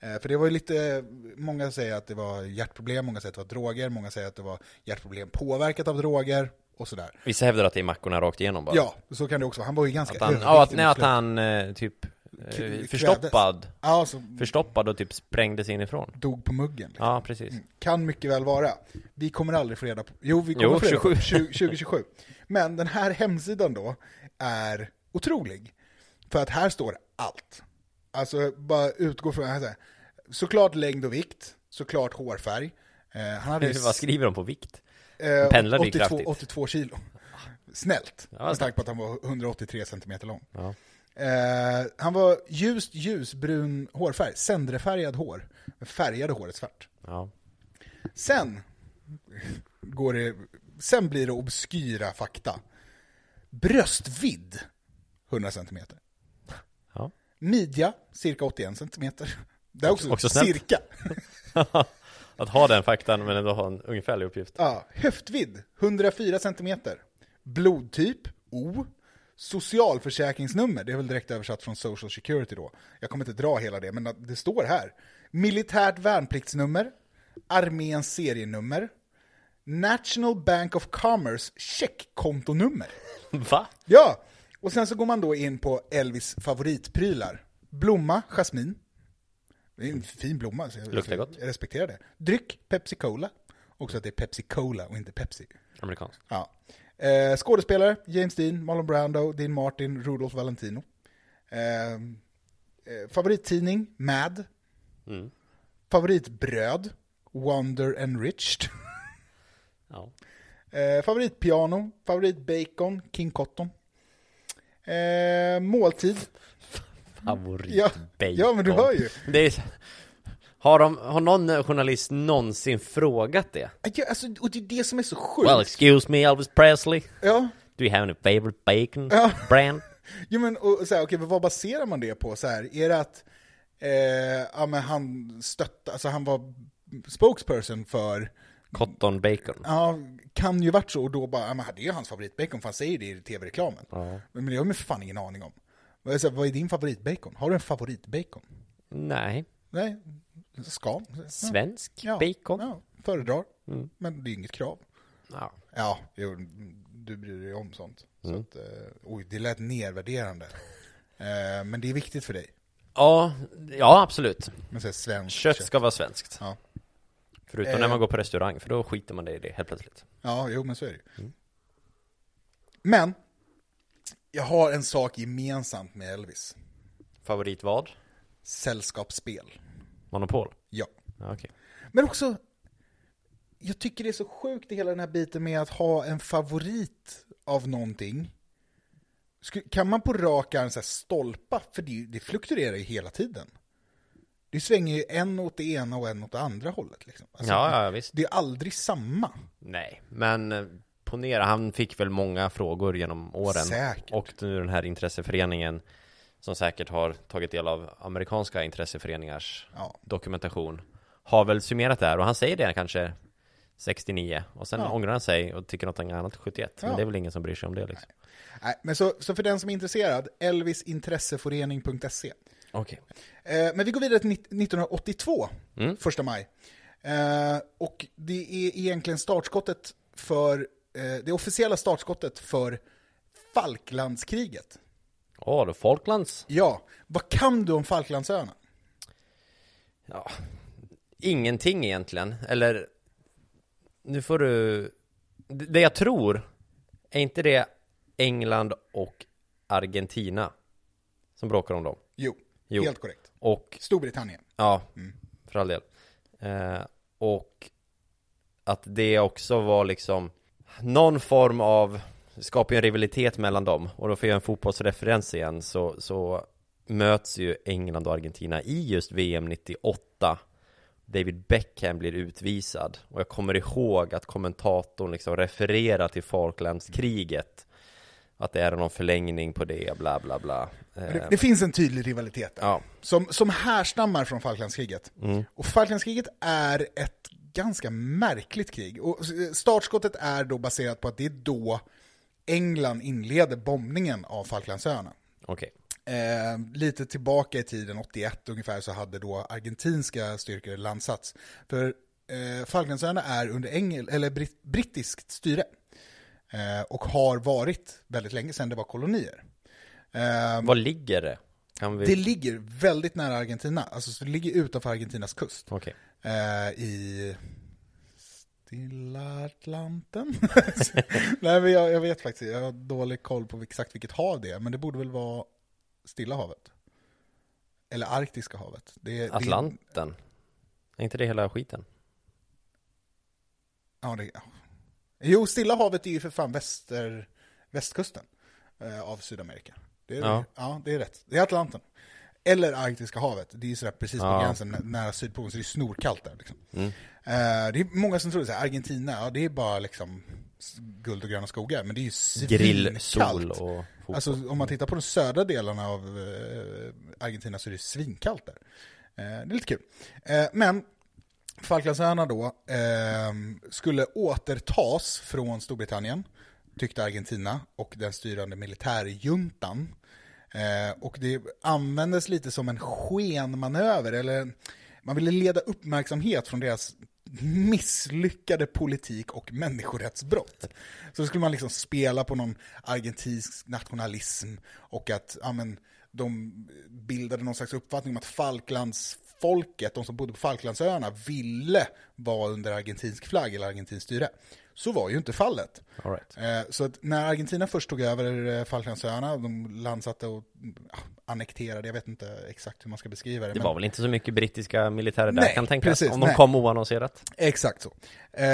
Eh, för det var ju lite, många säger att det var hjärtproblem, många säger att det var droger, många säger att det var hjärtproblem påverkat av droger och sådär. Vissa hävdar att det är mackorna rakt igenom bara. Ja, så kan det också vara. Han var ju ganska Att han, överviktig ja, att, mot nej, att slutet. han eh, typ eh, Kvävdes. förstoppad. Ja, som Förstoppad och typ sprängdes inifrån. dog på muggen. Liksom. Ja, precis. Kan mycket väl vara. Vi kommer aldrig få reda på... Jo, vi kommer Jo, få reda på 27. 20, 2027. Men den här hemsidan då är otrolig. För att här står allt. Alltså, bara utgå från... Här, så här. Såklart längd och vikt, såklart hårfärg. Eh, han hade ju Vad skriver de på vikt? eh, pendlar vi 82, kraftigt? 82 kilo. Snällt, Ja, med snällt. tanke på att han var 183 centimeter lång. Ja. Eh, han var ljust ljusbrun hårfärg, sändrefärgad hår. men Färgade håret svart. Ja. Sen, går det, sen blir det obskyra fakta. Bröstvidd, 100 cm. Ja. Midja, cirka 81 cm. Det är också, Också snällt. cirka. Att ha den faktan men ändå ha en ungefärlig uppgift. Ja, höftvidd, 104 cm. Blodtyp, O. Socialförsäkringsnummer, det är väl direkt översatt från Social Security då. Jag kommer inte dra hela det, men att det står här. Militärt värnpliktsnummer, arméns serienummer, National Bank of Commerce checkkontonummer. Va? Ja, och sen så går man då in på Elvis favoritprylar. Blomma, jasmin. Det är en fin blomma, så jag, Luktar gott. jag respekterar det. Dryck, Pepsi Cola. Också att det är Pepsi Cola och inte Pepsi. Amerikanskt. Ja. Eh, skådespelare, James Dean, Marlon Brando, Dean Martin, Rudolph Valentino. Eh, eh, favorittidning, Mad. Mm. Favoritbröd, Wonder Enriched. Ja. Eh, favoritpiano, favoritbacon, King Cotton. Eh, måltid, Ja, Favoritbacon. ja, men du hör ju. Det är, har, de, har någon journalist någonsin frågat det? Ja, alltså, och det är det som är så Well, sjukt. excuse me Elvis Presley. Ja, Do you have any favorite bacon Ja. brand? jo, men och, så här, okej, men vad baserar man det på? Så här, är det att eh, ja, men han stöttade, alltså han var spokesperson för, Cotton bacon. ja, kan ju varit så, och då bara, ja, men det är ju hans favoritbacon, för han säger det i tv-reklamen. Men det har man för fan ingen aning om. Och jag säger, vad är din favoritbacon? Har du en favoritbacon? Nej. Nej, ska. Svensk Ja, bacon? Ja. Ja, föredrar. Men det är inget krav. Ja. Ja, jo, du bryr dig om sånt. Så att, eh, oj, det lät nedvärderande. Eh, men det är viktigt för dig. Ja, ja absolut. Men så här, svenskt Kött ska vara svenskt. Ja. Förutom Eh. när man går på restaurang, för då skiter man i det helt plötsligt. Ja, jo men så är det ju. Men, jag har en sak gemensamt med Elvis. Favorit vad? Sällskapsspel. Monopol? Ja. Ja, okej. Men också, jag tycker det är så sjukt i hela den här biten med att ha en favorit av någonting. Sku- Kan man på rak arm så här stolpa? För det, är ju- det fluktuerar ju hela tiden. Det svänger ju en åt det ena och en åt det andra hållet. Liksom. Alltså, Ja, ja, ja, visst. Det är aldrig samma. Nej, men eh, ponera, han fick väl många frågor genom åren. Säkert. Och nu den här intresseföreningen som säkert har tagit del av amerikanska intresseföreningars Ja. dokumentation har väl summerat det här och han säger det kanske 69 och sen Ja. ångrar han sig och tycker något annat 71. Ja. Men det är väl ingen som bryr sig om det liksom. Nej, men så, så för den som är intresserad, elvisintresseförening.se. Okej. Eh, men vi går vidare till nitt- 1982, Mm. första maj. Eh, och det är egentligen startskottet för, eh, det officiella startskottet för Falklandskriget. Åh, då Falklands. Ja, vad kan du om Falklandsöarna? Ja, ingenting egentligen. Eller, nu får du... Det det jag tror, är inte det England och Argentina som bråkar om dem? Jo, Jo. helt korrekt. Och, Storbritannien. ja, för all del. Eh, och att det också var liksom någon form av, det skapar ju en rivalitet mellan dem. Och då får jag en fotbollsreferens igen, så, så möts ju England och Argentina i just VM 98. David Beckham blir utvisad och jag kommer ihåg att kommentatorn liksom refererar till Falklandskriget. Att det är någon förlängning på det, bla bla bla. Det, Eh, det finns en tydlig rivalitet där, ja, som, som härstammar från Falklandskriget. Mm. Och Falklandskriget är ett ganska märkligt krig. Och eh, startskottet är då baserat på att det är då England inleder bombningen av Falklandsöarna. okej. Eh, lite tillbaka i tiden, 81 ungefär, så hade då argentinska styrkor landsats. För eh, Falklandsöarna är under engel, eller britt, brittiskt styre. Eh, och har varit väldigt länge sedan det var kolonier. Eh, Var ligger det? Kan vi... det ligger väldigt nära Argentina, alltså så det ligger utanför Argentinas kust. Okej. Eh, I Stilla Atlanten? Nej men jag, jag vet faktiskt, jag har dålig koll på exakt vilket hav det är, men det borde väl vara Stilla havet? Eller Arktiska havet? Det, är- Atlanten? Är inte det hela skiten? Det, är- ja, det, ja. Jo, Stilla havet är ju för fan väster, västkusten eh, av Sydamerika. Det är, ja. Ja. det är rätt. Det är Atlanten. Eller Arktiska havet, det är ju sådär precis på Ja. Mm. gränsen nä- nära Sydpolen, så det är snorkallt där. Liksom. Eh, det är många som tror att Argentina, ja, det är bara liksom s- guld och gröna skogar, men det är ju Grill, sol svinkallt. och fotboll. Alltså om man tittar på de södra delarna av eh, Argentina så är det svinkallt där. Eh, det är lite kul. Eh, men Falklandsöarna då ehm, skulle återtas från Storbritannien, tyckte Argentina, och den styrande militärjuntan. Eh, och det användes lite som en skenmanöver, eller man ville leda uppmärksamhet från deras misslyckade politik och människorättsbrott. Så då skulle man liksom spela på någon argentinsk nationalism och att ja, men, de bildade någon slags uppfattning om att Falklandsfolket, de som bodde på Falklandsöarna, ville vara under argentinsk flagg eller argentinskt styre. Så var ju inte fallet. All right. Eh, Så att när Argentina först tog över eh, Falklandsöarna, de landsatte och ja, annekterade, jag vet inte exakt hur man ska beskriva det. Det men- var väl inte så mycket brittiska militärer där Nej, kan tänkas, precis, om de nej. kom oannonserat. Exakt så. Eh,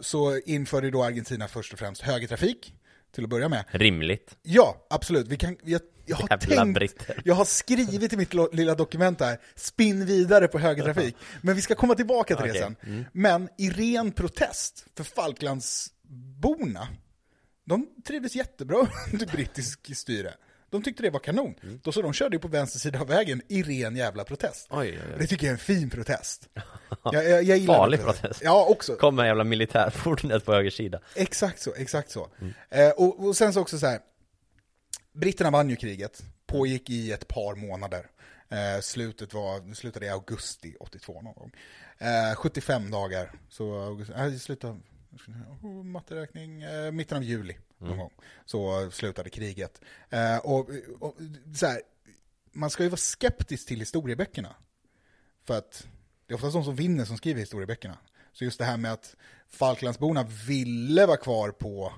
Så införde då Argentina först och främst högertrafik, till att börja med. Rimligt. Ja, absolut. Vi kan, jag, jag har Jävla tänkt, britter. jag har skrivit i mitt lo- lilla dokument här, spinn vidare på högertrafik. Men vi ska komma tillbaka till det Okej, Mm. sen. Men i ren protest för Falklandsborna, de trivdes jättebra under brittisk styre. De tyckte det var kanon. Då så de körde ju på vänster sida av vägen i ren jävla protest. Mm. Oj, oj, oj. Det tycker jag är en fin protest. Jag, jag, jag gillar Farlig den protesten. protest. Ja, också. Kommer jävla militärfordonet på höger sida. Exakt så, exakt så. Eh, och, och sen så också så här, britterna vann ju kriget, pågick i ett par månader. Eh, slutet var, slutade i augusti 82 någon gång. Eh, 75 dagar, så augusti, nej, slutet av, oh, matteräkning, eh, mitten av juli någon gång, så slutade kriget. Eh, och, och så här, man ska ju vara skeptisk till historieböckerna. För att det är oftast de som vinner som skriver historieböckerna. Så just det här med att Falklandsborna ville vara kvar på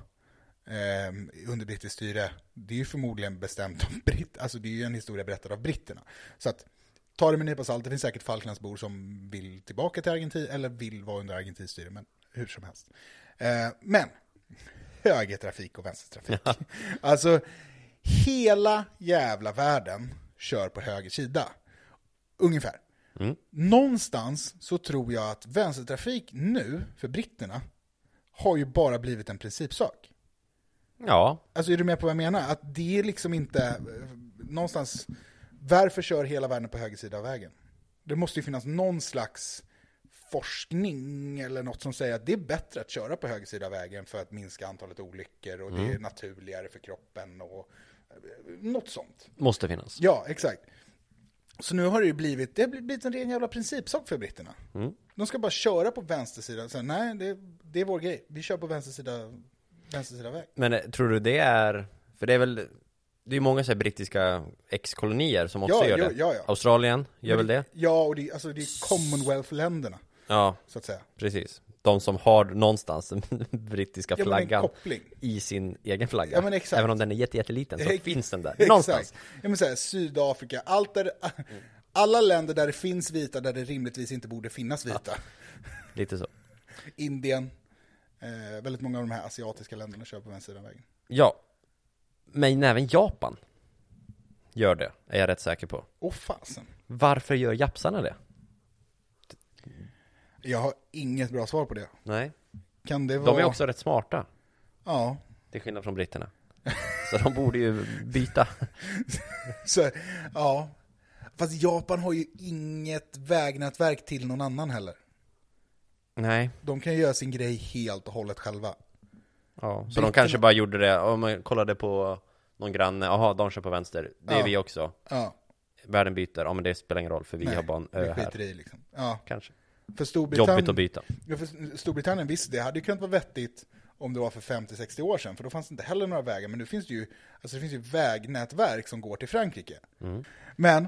eh, under brittiskt styre, det är ju förmodligen bestämt av britt, alltså det är ju en historia berättad av britterna. Så att ta det med en nypa salt, det finns säkert Falklandsbor som vill tillbaka till Argentin, eller vill vara under argentinskt styre, men hur som helst. Eh, men, högertrafik och vänstertrafik. Alltså, hela jävla världen kör på höger sida. Ungefär. Någonstans så tror jag att vänstertrafik nu, för britterna, har ju bara blivit en principsak. Ja, Alltså är du med på vad jag menar? Att det är liksom inte, eh, någonstans, varför kör hela världen på höger sida av vägen? Det måste ju finnas någon slags forskning eller något som säger att det är bättre att köra på höger sida av vägen för att minska antalet olyckor och det är naturligare för kroppen och eh, något sånt. måste finnas. Ja, exakt. Så nu har det ju blivit, det har blivit en ren jävla principsak för britterna. Mm. De ska bara köra på vänstersidan, så här, nej det, det är vår grej, vi kör på vänstersida, vänstersida väg. Men eh, tror du det är, för det är väl, det är många så här brittiska ex-kolonier som också Ja, gör jo, det. ja, ja. Australien gör väl det? Ja, och det, alltså det är Commonwealth-länderna, Ja, så att säga. precis. De som har någonstans den brittiska Ja, men en flaggan koppling. i sin egen flagga. Ja, men exakt. Även om den är jätte, jätteliten så Ex- finns den där. Exakt. Någonstans. Ja, men så här, Sydafrika, allt där, alla länder där det finns vita, där det rimligtvis inte borde finnas vita. Lite så. Indien, eh, väldigt många av de här asiatiska länderna kör på vänstersidan av vägen. Ja. Men även Japan gör det, är jag rätt säker på. Åh fasen. Varför gör japsarna det? Jag har inget bra svar på det. Nej. Kan det vara... De är också rätt smarta, Ja. till skillnad från britterna. Så de borde ju byta. Så, ja. Fast Japan har ju inget vägnätverk till någon annan heller. Nej. De kan ju göra sin grej helt och hållet själva. Ja, så de kanske bara gjorde det, om man kollade på någon granne, jaha, de kör på vänster, det är Ja. vi också. Ja. Världen byter, ja men det spelar ingen roll för vi Nej, har bara en det ö skiter här. i liksom. Ja. Kanske. För Storbritannien... Jobbigt att byta. Ja, för Storbritannien, visst det hade ju kunnat vara vettigt om det var för 50-60 år sedan, för då fanns det inte heller några vägar, men nu finns det ju, alltså det finns ju vägnätverk som går till Frankrike. Mm. Men,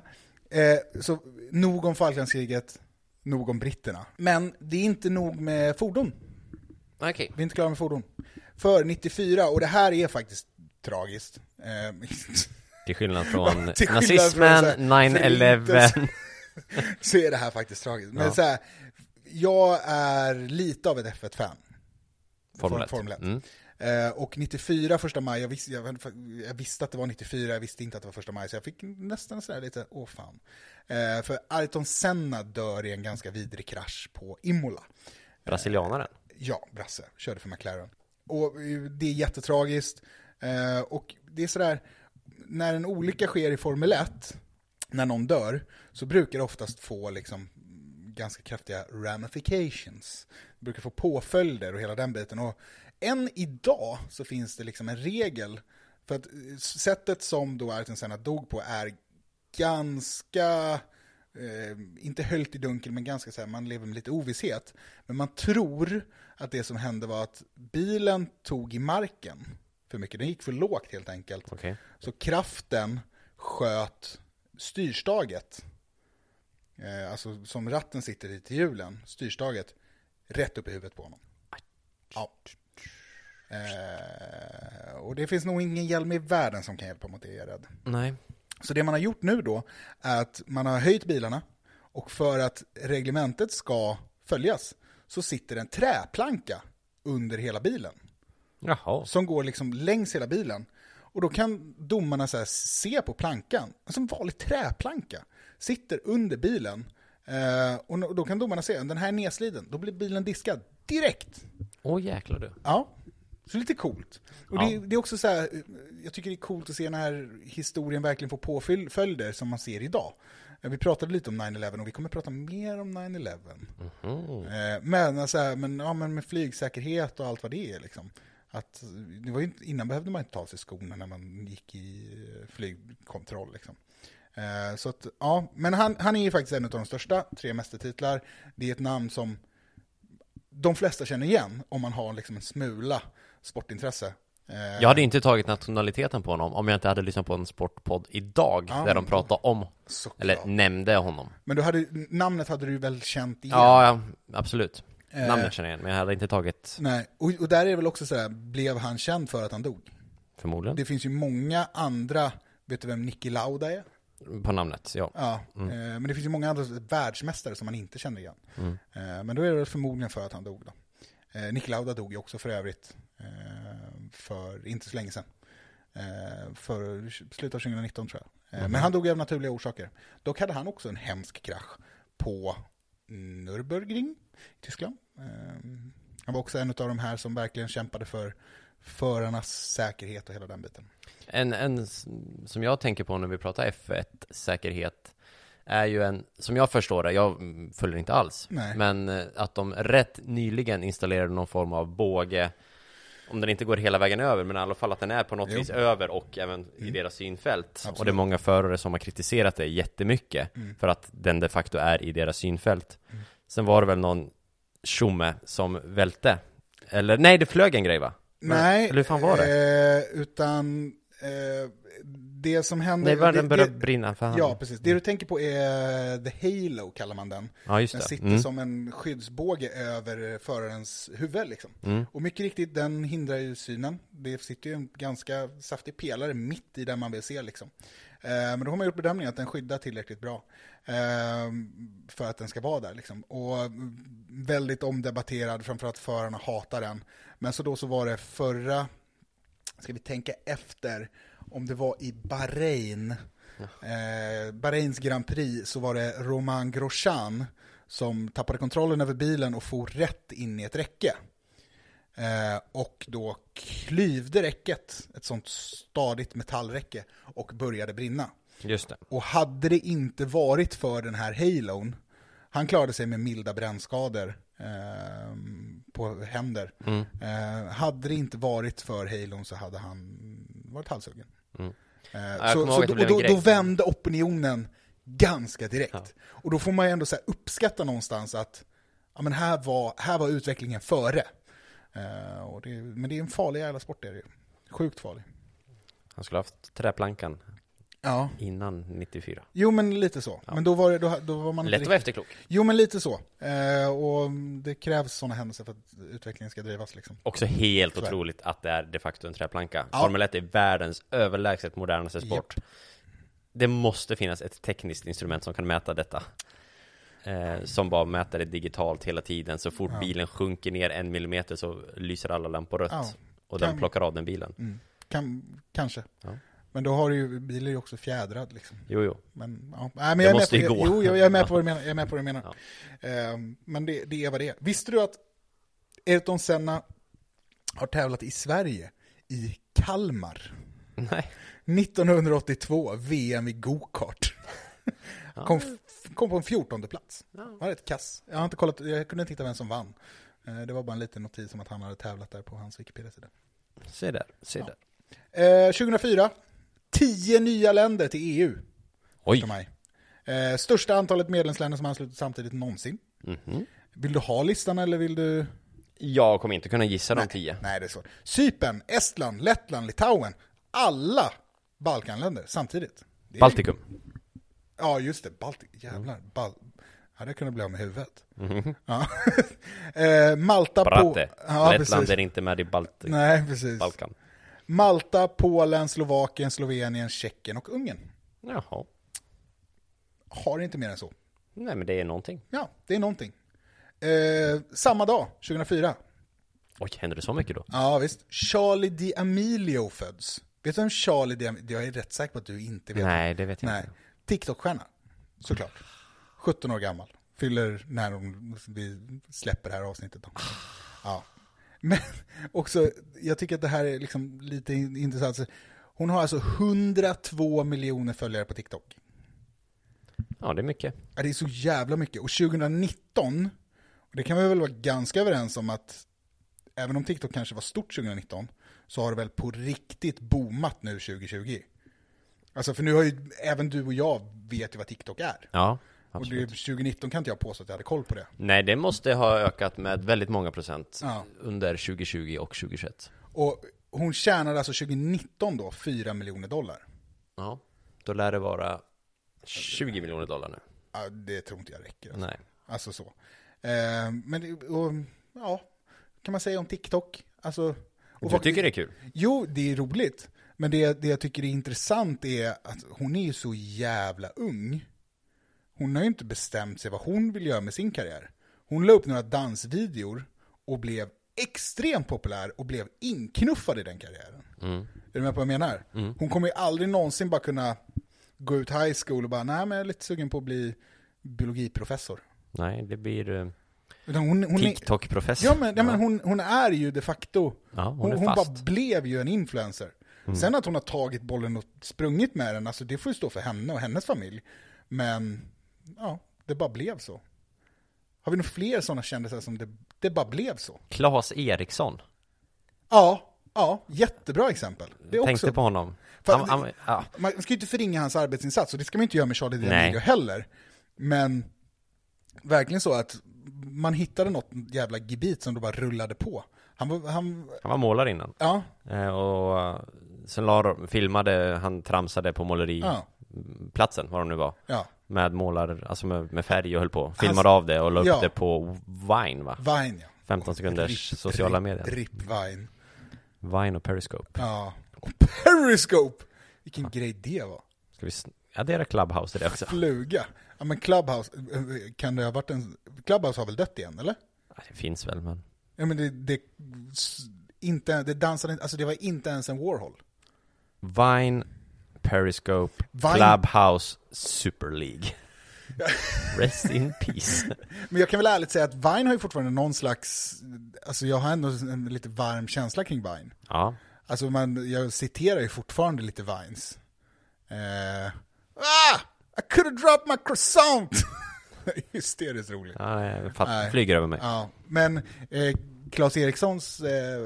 eh, så nog om Falklandskriget, nog om britterna. Men det är inte nog med fordon. Okej. Vi är inte klara med fordon. För 94, och det här är faktiskt tragiskt. Eh, Till skillnad från Till skillnad nazismen, från så här 9-11. så är det här faktiskt tragiskt. Men Ja. så här, jag är lite av ett F1-fan. Formel Form- 1. Formel ett. Mm. Eh, och 94, första maj, jag visste, jag, jag visste att det var 94, jag visste inte att det var första maj, så jag fick nästan sådär lite, åh fan. Eh, för Ayrton Senna dör i en ganska vidrig krasch på Imola. Brasilianaren. Ja, Brasse, körde för McLaren. Och eh, det är jättetragiskt. Eh, och det är sådär, när en olycka sker i Formel 1, när någon dör, så brukar det oftast få liksom ganska kraftiga ramifications. Det brukar få påföljder och hela den biten. Och än idag så finns det liksom en regel, för att eh, sättet som då Ayrton Senna dog på är ganska eh, inte höljt i dunkel, men ganska så här, man lever med lite ovisshet. Men man tror att det som hände var att bilen tog i marken för mycket. Den gick för lågt helt enkelt. Okej. Så kraften sköt styrstaget, eh, alltså som ratten sitter i till hjulen, styrstaget, rätt upp i huvudet på honom. Ja. Eh, och det finns nog ingen hjälm i världen som kan hjälpa mot det, är jag rädd. Nej. Så det man har gjort nu då är att man har höjt bilarna och för att reglementet ska följas så sitter en träplanka under hela bilen Jaha. som går liksom längs hela bilen. Och då kan domarna så här se på plankan, alltså en vanlig träplanka, sitter under bilen. Eh, och no- då kan domarna se, den här är nedsliden, då blir bilen diskad direkt. Åh jäklar du. Ja, så lite coolt. Och det, Ja. det är också så här, jag tycker det är coolt att se när historien verkligen får påföljder som man ser idag. Eh, Vi pratade lite om 9-11 och vi kommer prata mer om 9-11. Eh, Men, alltså, här, men, ja, men med flygsäkerhet och allt vad det är liksom. Att, det var ju inte, innan behövde man inte ta av sig skorna när man gick i eh, flygkontroll. Liksom. Eh, Så att, ja, men han, han är ju faktiskt en av de största, tre mästertitlar. Det är ett namn som de flesta känner igen om man har liksom en smula sportintresse. Eh, Jag hade ju inte tagit nationaliteten på honom om jag inte hade lyssnat på en sportpodd idag Ja, där de men- pratade om, såklart. eller nämnde honom. Men du hade, namnet hade du väl känt igen? Ja, ja absolut. Eh. Namnet känner jag igen, men jag hade inte tagit Nej, och, och där är det väl också sådär, blev han känd för att han dog? förmodligen Det finns ju många andra, vet du vem Niki Lauda är? på namnet. Ja. Ja, eh, men det finns ju många andra världsmästare som man inte känner igen. Eh, men då är det väl förmodligen för att han dog då. Eh, Niki Lauda dog ju också för övrigt, eh, för inte så länge sedan. Eh, för slutet av 2019 tror jag. Eh, Men han dog av naturliga orsaker. Dock hade han också en hemsk krasch på Nürburgring i Tyskland. Eh, han var också en av de här som verkligen kämpade för förarnas säkerhet och hela den biten. En, en s- som jag tänker på när vi pratar F1-säkerhet är ju en, som jag förstår det, jag mm, följer inte alls, Nej. men eh, att de rätt nyligen installerade någon form av båge, om den inte går hela vägen över, men i alla fall att den är på något Jo. Mm. vis över och även i deras synfält. Och det är Absolut. Mm. många förare som har kritiserat det jättemycket för att den de facto är i deras synfält. Sen var det väl någon tjomme som välte, eller nej, det flög en grej va? Men- Nej, Eller hur fan var det? Eh, utan eh, det som händer... Nej, var den Mm. det- började det- brinna för han. Ja, precis. Det du tänker på är eh, The Halo, kallar man den. Ja, just Den det. sitter Mm. som en skyddsbåge över förarens huvud. Liksom. Mm. Och mycket riktigt, den hindrar ju synen. Det sitter ju en ganska saftig pelare mitt i där man vill se. Liksom. Eh, men då har man gjort bedömningen att den skyddar tillräckligt bra eh, för att den ska vara där. Liksom. Och mm, väldigt omdebatterad, framförallt förarna hatar den. Men så då så var det förra ska vi tänka efter, om det var i Bahrain, eh, Bahrains Grand Prix, så var det Romain Grosjean som tappade kontrollen över bilen och for rätt in i ett räcke. Eh, och då klyvde räcket, ett sånt stadigt metallräcke, och började brinna. Just det. Och hade det inte varit för den här halon, han klarade sig med milda brännskador eh, på händer. Mm. Eh, hade det inte varit för halon så hade han varit halshuggen. Eh, Mm. jag så kommer så ihåg att det då, blev och en då, grej. då vände opinionen ganska direkt. Och då får man ju ändå så här uppskatta någonstans att ja, men här, var, här var utvecklingen före. Eh, och det, men det är en farlig jävla sport, det är det ju. Sjukt farlig. Han skulle haft träplankan Ja. innan 94. Jo, men lite så. Men då var, det, då, då var man inte Lätt att riktigt- vara efterklok. Jo, men lite så. Eh, och det krävs sådana händelser för att utvecklingen ska drivas. Liksom. Också helt är det. otroligt att det är de facto en träplanka. Ja. Formel 1 är världens överlägset modernaste sport. Det måste finnas ett tekniskt instrument som kan mäta detta. Eh, som bara mäter det digitalt hela tiden. Så fort bilen sjunker ner en millimeter så lyser alla lampor rött. Ja. Och Kan- den plockar av den bilen. Mm. Kan, kanske. Ja. Men då har du ju, bilen är ju också fjädrad. Liksom. Jo, jo. Men, ja. Nej, men Det jag är måste med ju på, gå. Jo, jag jag är med på vad du menar. Jag är med på vad du menar. Eh, men det, det är vad det är. Visste du att Ayrton Senna har tävlat i Sverige, i Kalmar? Nej. 1982, VM i gokart. Kom, kom på en 14 plats. Var rätt kass. Jag har inte kollat, jag kunde inte hitta vem som vann. Eh, Det var bara en liten notis om att han hade tävlat där på hans Wikipedia-sida. Se där, se där. Eh, 2004, 10 nya länder till EU. Oj. För mig. Eh, största antalet medlemsländer som anslutit samtidigt någonsin. Vill du ha listan eller vill du? Jag kommer inte kunna gissa de tio. Nej, det är svårt. Cypern, Estland, Lettland, Litauen. Alla Balkanländer samtidigt. Det är- Baltikum. Ja, just det. Baltic. Jävlar. Bal hade jag kunnat bli av med huvudet. Mhm. Ja. eh, Malta, på... Bratte. Ja, Lettland precis. är inte med i Balti- Nej, precis. Balkan. Malta, Polen, Slovakien, Slovenien, Tjeckien och Ungern. Jaha. Har inte mer än så. Nej, men det är någonting. Ja, det är någonting. Eh, samma dag, 2004. Oj, händer det så mycket då? Ja, visst. Charlie D'Amelio föds. Vet du vem Charlie D'Amelio... Jag är rätt säker på att du inte vet. Nej, det vet jag Nej. inte. TikTok-stjärna, såklart. 17 år gammal. Fyller när de, vi släpper det här avsnittet. Då. Ja. Men också, jag tycker att det här är liksom lite in- intressant. Så Hon har alltså 102 miljoner följare på TikTok. Ja, det är mycket. Ja, det är så jävla mycket. Och 2019, och det kan vi väl vara ganska överens om att även om TikTok kanske var stort 2019, så har det väl på riktigt boomat nu 2020. Alltså för nu har ju även du och jag vet ju vad TikTok är. Ja, Och absolut. det, 2019 kan inte jag påstå att jag hade koll på det. Nej, det måste ha ökat med väldigt många procent Ja. under 2020 och 2021. Och Hon tjänade alltså 2019 då 4 miljoner dollar. Ja, då lär det vara 20 miljoner dollar nu. Ja, det tror inte jag räcker. Alltså, Nej. alltså så. Eh, men det- och, ja, kan man säga om TikTok? Alltså, och Du vad- tycker det är kul? Jo, det är roligt. Men det, det jag tycker är intressant är att hon är ju så jävla ung. Hon har ju inte bestämt sig vad hon vill göra med sin karriär. Hon la upp några dansvideor och blev extremt populär och blev inknuffad i den karriären. Är du med på vad jag menar? Hon kommer ju aldrig någonsin bara kunna gå ut high school och bara, nej men jag är lite sugen på att bli biologiprofessor. Nej, det blir eh, Utan hon, hon är, TikTok-professor. Ja men, ja, men hon, hon är ju de facto, Ja, hon hon, är hon fast. Mm. bara blev ju en influencer. Sen att hon har tagit bollen och sprungit med den, alltså det får ju stå för henne och hennes familj. Men, ja, det bara blev så. Har vi nog fler sådana kändisar som det, det bara blev så? Claes Eriksson. Ja, ja, jättebra exempel. Det är Tänkte också, på honom. Fan, Han, han, ja. Man ska ju inte förringa hans arbetsinsats, och det ska man ju inte göra med Charlie Nej. D'Amelio heller. Men, verkligen så att man hittade något jävla gebit som då bara rullade på. Han, var- han, han var målare innan. ja, Eh, Och eh, sen la, de- filmade, han tramsade på Ja. måleriplatsen, vad de nu var. Ja, Med målar, alltså med, med färg och höll på. Filmade Alltså, av det och la upp ja. det på Vine va? Vine ja. 15 sekunders Rip, sociala rip, medier. Rip Vine. Vine och Periscope. Ja. Och Periscope! Vilken grej det var. Ska vi sn- addera Clubhouse till det också? Fluga. Ja men Clubhouse, eh, kan det ha varit en... Clubhouse har väl dött igen eller? Ja, Det finns väl men. Ja men det, det, s- inte, det dansade inte, alltså det var inte ens en Warhol. Vine, Periscope, Vine- Clubhouse, Super League. Rest in peace. Men jag kan väl ärligt säga att Vine har ju fortfarande någon slags, alltså jag har ändå en lite varm känsla kring Vine. Ja, Alltså man, jag citerar ju fortfarande lite Vines. Eh, ah! I could have dropped my croissant! Hysteriskt roligt. ja jag fatt, Nej. flyger över mig. Ja, men eh, Claes Erikssons eh,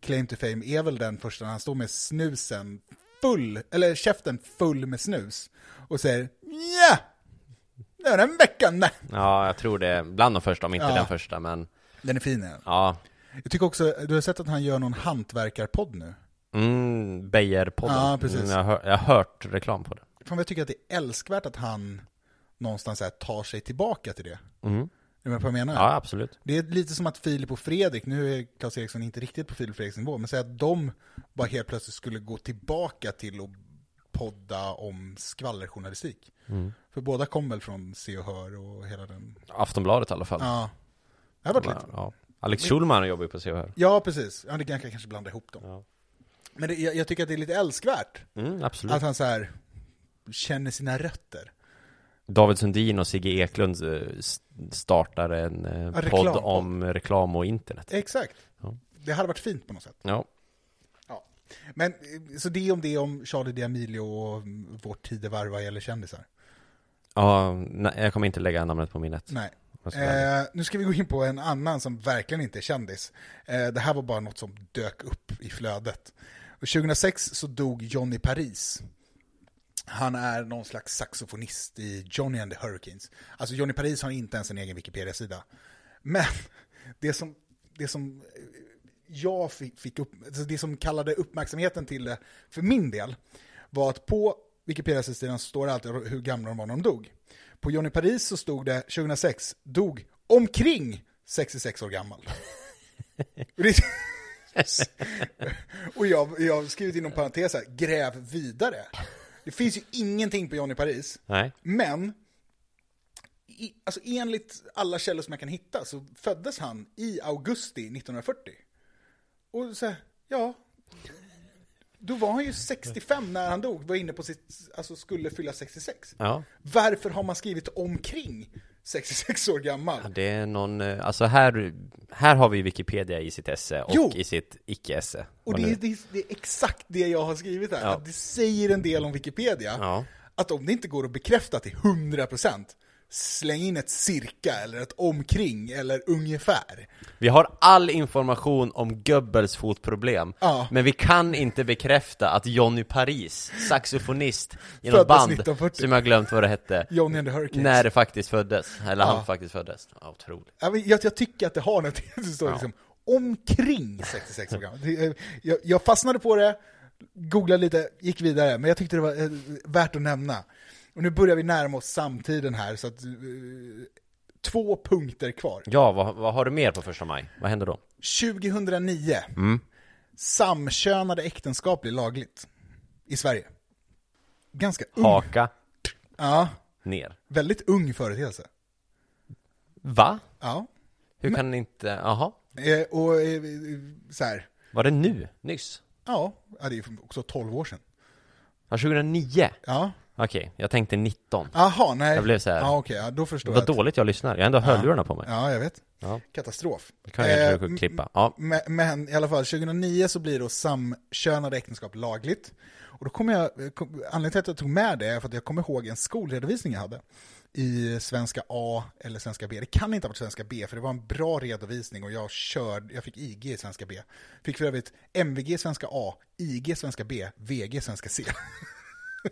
claim to fame är väl den första när han står med snusen full, eller käften full med snus och säger ja, det är den veckan, nej. Ja, jag tror det är bland de första, om inte Ja. den första men Den är fin ja. ja. Jag tycker också, du har sett att han gör någon hantverkarpodd nu? Mm, Beijer-podden. Ja, precis. Mm, jag, har, jag har hört reklam på den. Fan vad jag tycker att det är älskvärt att han någonstans så här, tar sig tillbaka till det. Mm. Är du med på vad jag menar? Ja, absolut. Det är lite som att Filip och Fredrik, nu är Claes Eriksson inte riktigt på Filip och Fredriks nivå, men säg att de bara helt plötsligt skulle gå tillbaka till att podda om skvallerjournalistik. Mm. För båda kom väl från Se och Hör och hela den... Aftonbladet i alla fall. Ja, det har varit lite... Ja. Alex Schulman jobbar ju på Se och Hör. Ja, precis. Ja, det kan jag kanske blanda ihop dem. Ja. Men det, jag, jag tycker att det är lite älskvärt Mm, absolut. att han så här känner sina rötter. David Sundin och Sigge Eklund eh, s- startar en eh, podd reklampodd. om reklam och internet. Exakt. Ja. Det hade varit fint på något sätt. Ja, Ja. Men eh, så det om det om Charlie D'Amelio och mm, vårt tidevarv vad gäller kändisar. ja nej, jag kommer inte lägga namnet på minnet. Nej. om jag ska vara ärlig. Eh, nu ska vi gå in på en annan som verkligen inte är kändis. Eh, det här var bara något som dök upp i flödet. Och 2006 så dog Johnny Paris. Han är någon slags saxofonist i Johnny and the Hurricanes. Alltså Johnny Paris har inte ens en egen Wikipedia-sida. Men det som, det som jag fick, fick upp, alltså det som kallade uppmärksamheten till det för min del var att på Wikipedia-sidan står det alltid hur gamla de var när de dog. På Johnny Paris så stod det 2006, dog omkring 66 år gammal. Och det- Och jag, jag har skrivit inom parentes här, gräv vidare. Det finns ju ingenting på Johnny Paris. Nej. Men, i, alltså enligt alla källor som jag kan hitta så föddes han i augusti 1940. Och så här, ja, då var han ju 65 när han dog, var inne på sitt, alltså skulle fylla 66. Ja. Varför har man skrivit omkring 66 år gammal? Ja, Det är någon, eh, alltså här, här har vi Wikipedia i sitt esse och Jo. i sitt icke-esse. Och Vad det är, nu? det, är, det är exakt det jag har skrivit här, Ja. att det säger en del om Wikipedia. Ja. Att om det inte går att bekräfta till 100%, släng in ett cirka, eller ett omkring, eller ungefär. Vi har all information om Goebbels fotproblem, Ja. men vi kan inte bekräfta att Johnny Paris, saxofonist i Föddes något band, 1940. som jag har glömt vad det hette, Johnny and the Hurricanes. när det faktiskt föddes, eller Ja. han faktiskt föddes. Ja, otroligt. Ja, men Jag, jag tycker att det har något, det står liksom omkring 66 år gammal. Det- eh, Jag, jag fastnade på det, googlade lite, gick vidare, men jag tyckte det var eh, värt att nämna. Och nu börjar vi närma oss samtiden här, så att eh, två punkter kvar. Ja, vad, vad har du mer på första maj? Vad händer då? Mm. 2009, samkönade äktenskap blir lagligt i Sverige. Ganska ung, Haka ja, ner. väldigt ung företeelse. Va? Ja, Hur kan inte, jaha? eh, och eh, så här, Var det nu? Nyss? ja, ja, det är ju också 12 år sedan. Ja, 2009? Ja, Okej, jag tänkte 19. Jaha, nej. Jag blev så här. Ja, okej, ja, då förstår Vad jag. dåligt jag lyssnar. Jag har ändå hörlurarna på mig. Ja, jag vet. Ja. Katastrof. Det kan jag Eh, inte klippa. Ja. men, men i alla fall, 2009 så blir då samkönade äktenskap lagligt. Och då kommer jag, kom- anledningen till att jag tog med det är för att jag kommer ihåg en skolredovisning jag hade i svenska A eller svenska B. Det kan inte ha varit svenska B, för det var en bra redovisning och jag körde, jag fick IG i svenska B. Fick för övrigt MVG i svenska A, IG i svenska B, VG i svenska C.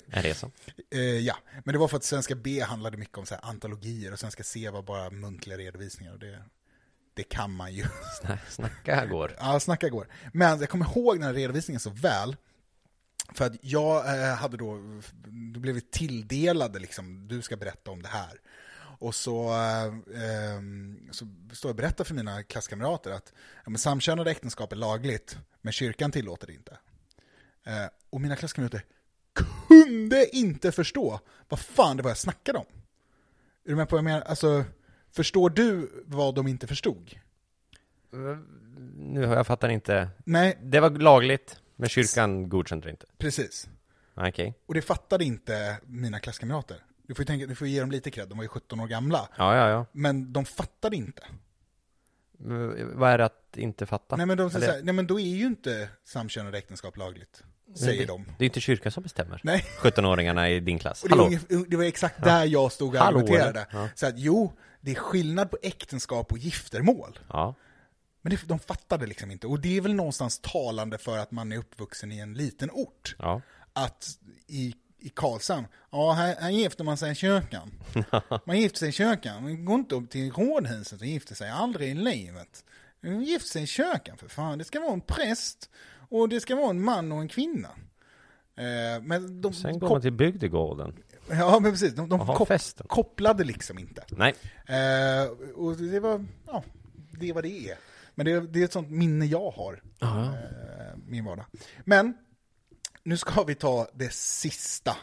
En resa. Eh, ja, men det var för att Svenska B handlade mycket om så här antologier och Svenska C var bara muntliga redovisningar. Och det, det kan man ju. Sna- Snacka går. ja, snacka går. Men jag kommer ihåg den här redovisningen så väl. För att jag eh, hade då, då blev vi tilldelade liksom, du ska berätta om det här. Och så, eh, eh, så står jag och berättar för mina klasskamrater att ja, men samkönade äktenskap är lagligt, men kyrkan tillåter det inte. Eh, och mina klasskamrater kunde inte förstå vad fan det var jag snackade om. Är du med på vad jag menar? Alltså, förstår du vad de inte förstod? Nu har jag fattar inte. Nej, Det var lagligt, men kyrkan godkände det inte. Ah, precis. Okej. Och det fattade inte mina klasskamrater. Du får ju, tänka, du får ju ge dem lite cred, de var ju 17 år gamla. Ja, ja, ja. Men de fattade inte. V- Vad är det att inte fatta? Nej men, de, säger Eller- så här, nej men då är ju inte samkönade äktenskap lagligt, säger det, de. Det är ju inte kyrkan som bestämmer. Nej. 17-åringarna i din klass. Och det, var Hallå. ungefär, det var exakt där jag stod och Hallå, argumenterade. eller? Ja. Så att jo, det är skillnad på äktenskap och giftermål. Ja. Men det, de fattade liksom inte. Och det är väl någonstans talande för att man är uppvuxen i en liten ort. Ja. Att i, i Karlshamn, ja här, här gifter man sig i kyrkan. Man gifter sig i kyrkan, man går inte upp till rådhuset och gifter sig, aldrig i livet. Man gifter sig i kyrkan för fan, det ska vara en präst och det ska vara en man och en kvinna. Eh, men de, Sen går kop- man till bygdegården. ja, men precis, de, de Jaha, kop- festen. kopplade liksom inte. Nej. Eh, och det var, ja, det var det är. Men det, det är ett sånt minne jag har, eh, min vardag. Men, nu ska vi ta det sista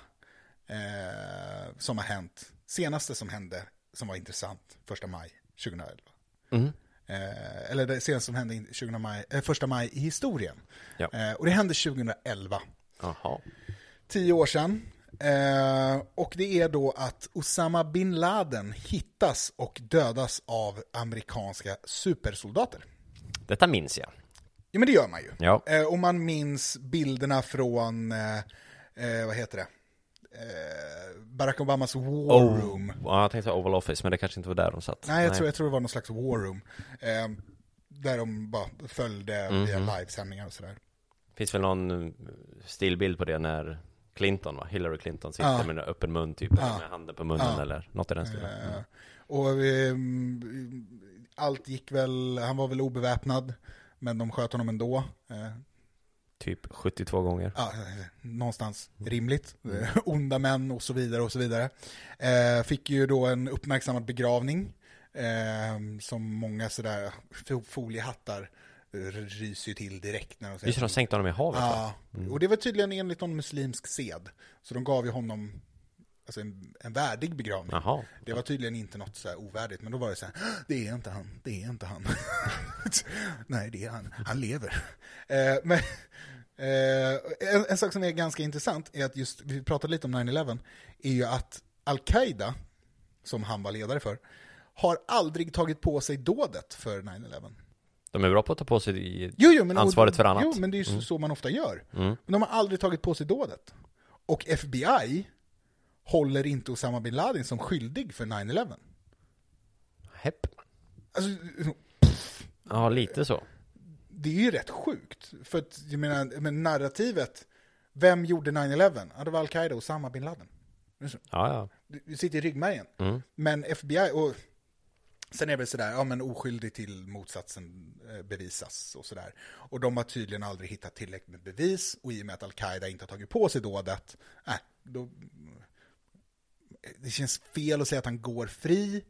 eh, som har hänt. Senaste som hände, som var intressant, första maj 2011. Eh, eller det senaste som hände in- 20 maj, eh, första maj i historien. Ja. Eh, och det hände 2011 Jaha. tio år sedan. Eh, och det är då att Osama bin Laden hittas och dödas av amerikanska supersoldater. Detta minns jag. Ja men det gör man ju. Ja. Eh, och man minns bilderna från, eh, eh, vad heter det? Eh, Barack Obamas War Room. Ja, jag tänkte säga Oval Office, men det kanske inte var där de satt. Nej, jag, Tror, jag tror det var någon slags War Room. Eh, där de bara följde via livesändningar och sådär. Finns väl någon eh, stillbild på det när Clinton, va? Hillary Clinton sitter med en öppen mun typ, eller med handen på munnen eller något i den stilen. Eh, Och ehm, allt gick väl, han var väl obeväpnad, men de sköt honom ändå. Eh, Typ 72 gånger. ja, eh, någonstans Mm. rimligt. Eh, Onda män och så vidare och så vidare. Eh, fick ju då en uppmärksammad begravning, eh, som många sådär fo- foliehattar eh, ryser ju till direkt när de Just det, Mm. säger de sänkte honom i havet va? Ja, och det var tydligen enligt någon muslimsk sed. Så de gav ju honom alltså en, en värdig begravning. Jaha. Det var tydligen inte något så här ovärdigt, men då var det så här, det är inte han, det är inte han. Nej, det är han, han lever. Eh, men, eh, en, en sak som är ganska intressant är att just, vi pratade lite om 9-11, är ju att Al-Qaida, som han var ledare för, har aldrig tagit på sig dådet för 9-11. De är bra på att ta på sig i... Jo, jo, men, Ansvaret för annat. Mm. Jo, men det är ju så- så man ofta gör. Men de har aldrig tagit på sig dådet. Och FBI håller inte Osama bin Laden som skyldig för 9-11. Hepp. Alltså, Ja, lite så. det är ju rätt sjukt. För att, jag menar, men narrativet, vem gjorde 9-11? Ja, det var Al-Qaida och Osama bin Laden. Ja, ja. Mm. Det- Det sitter i ryggmärgen. Men FBI, och Sen är det väl sådär, ja men oskyldig till motsatsen eh, bevisas och sådär. Och de har tydligen aldrig hittat tillräckligt med bevis och i och med att Al-Qaida inte har tagit på sig dådet, äh, då... Det känns fel att säga att han går fri.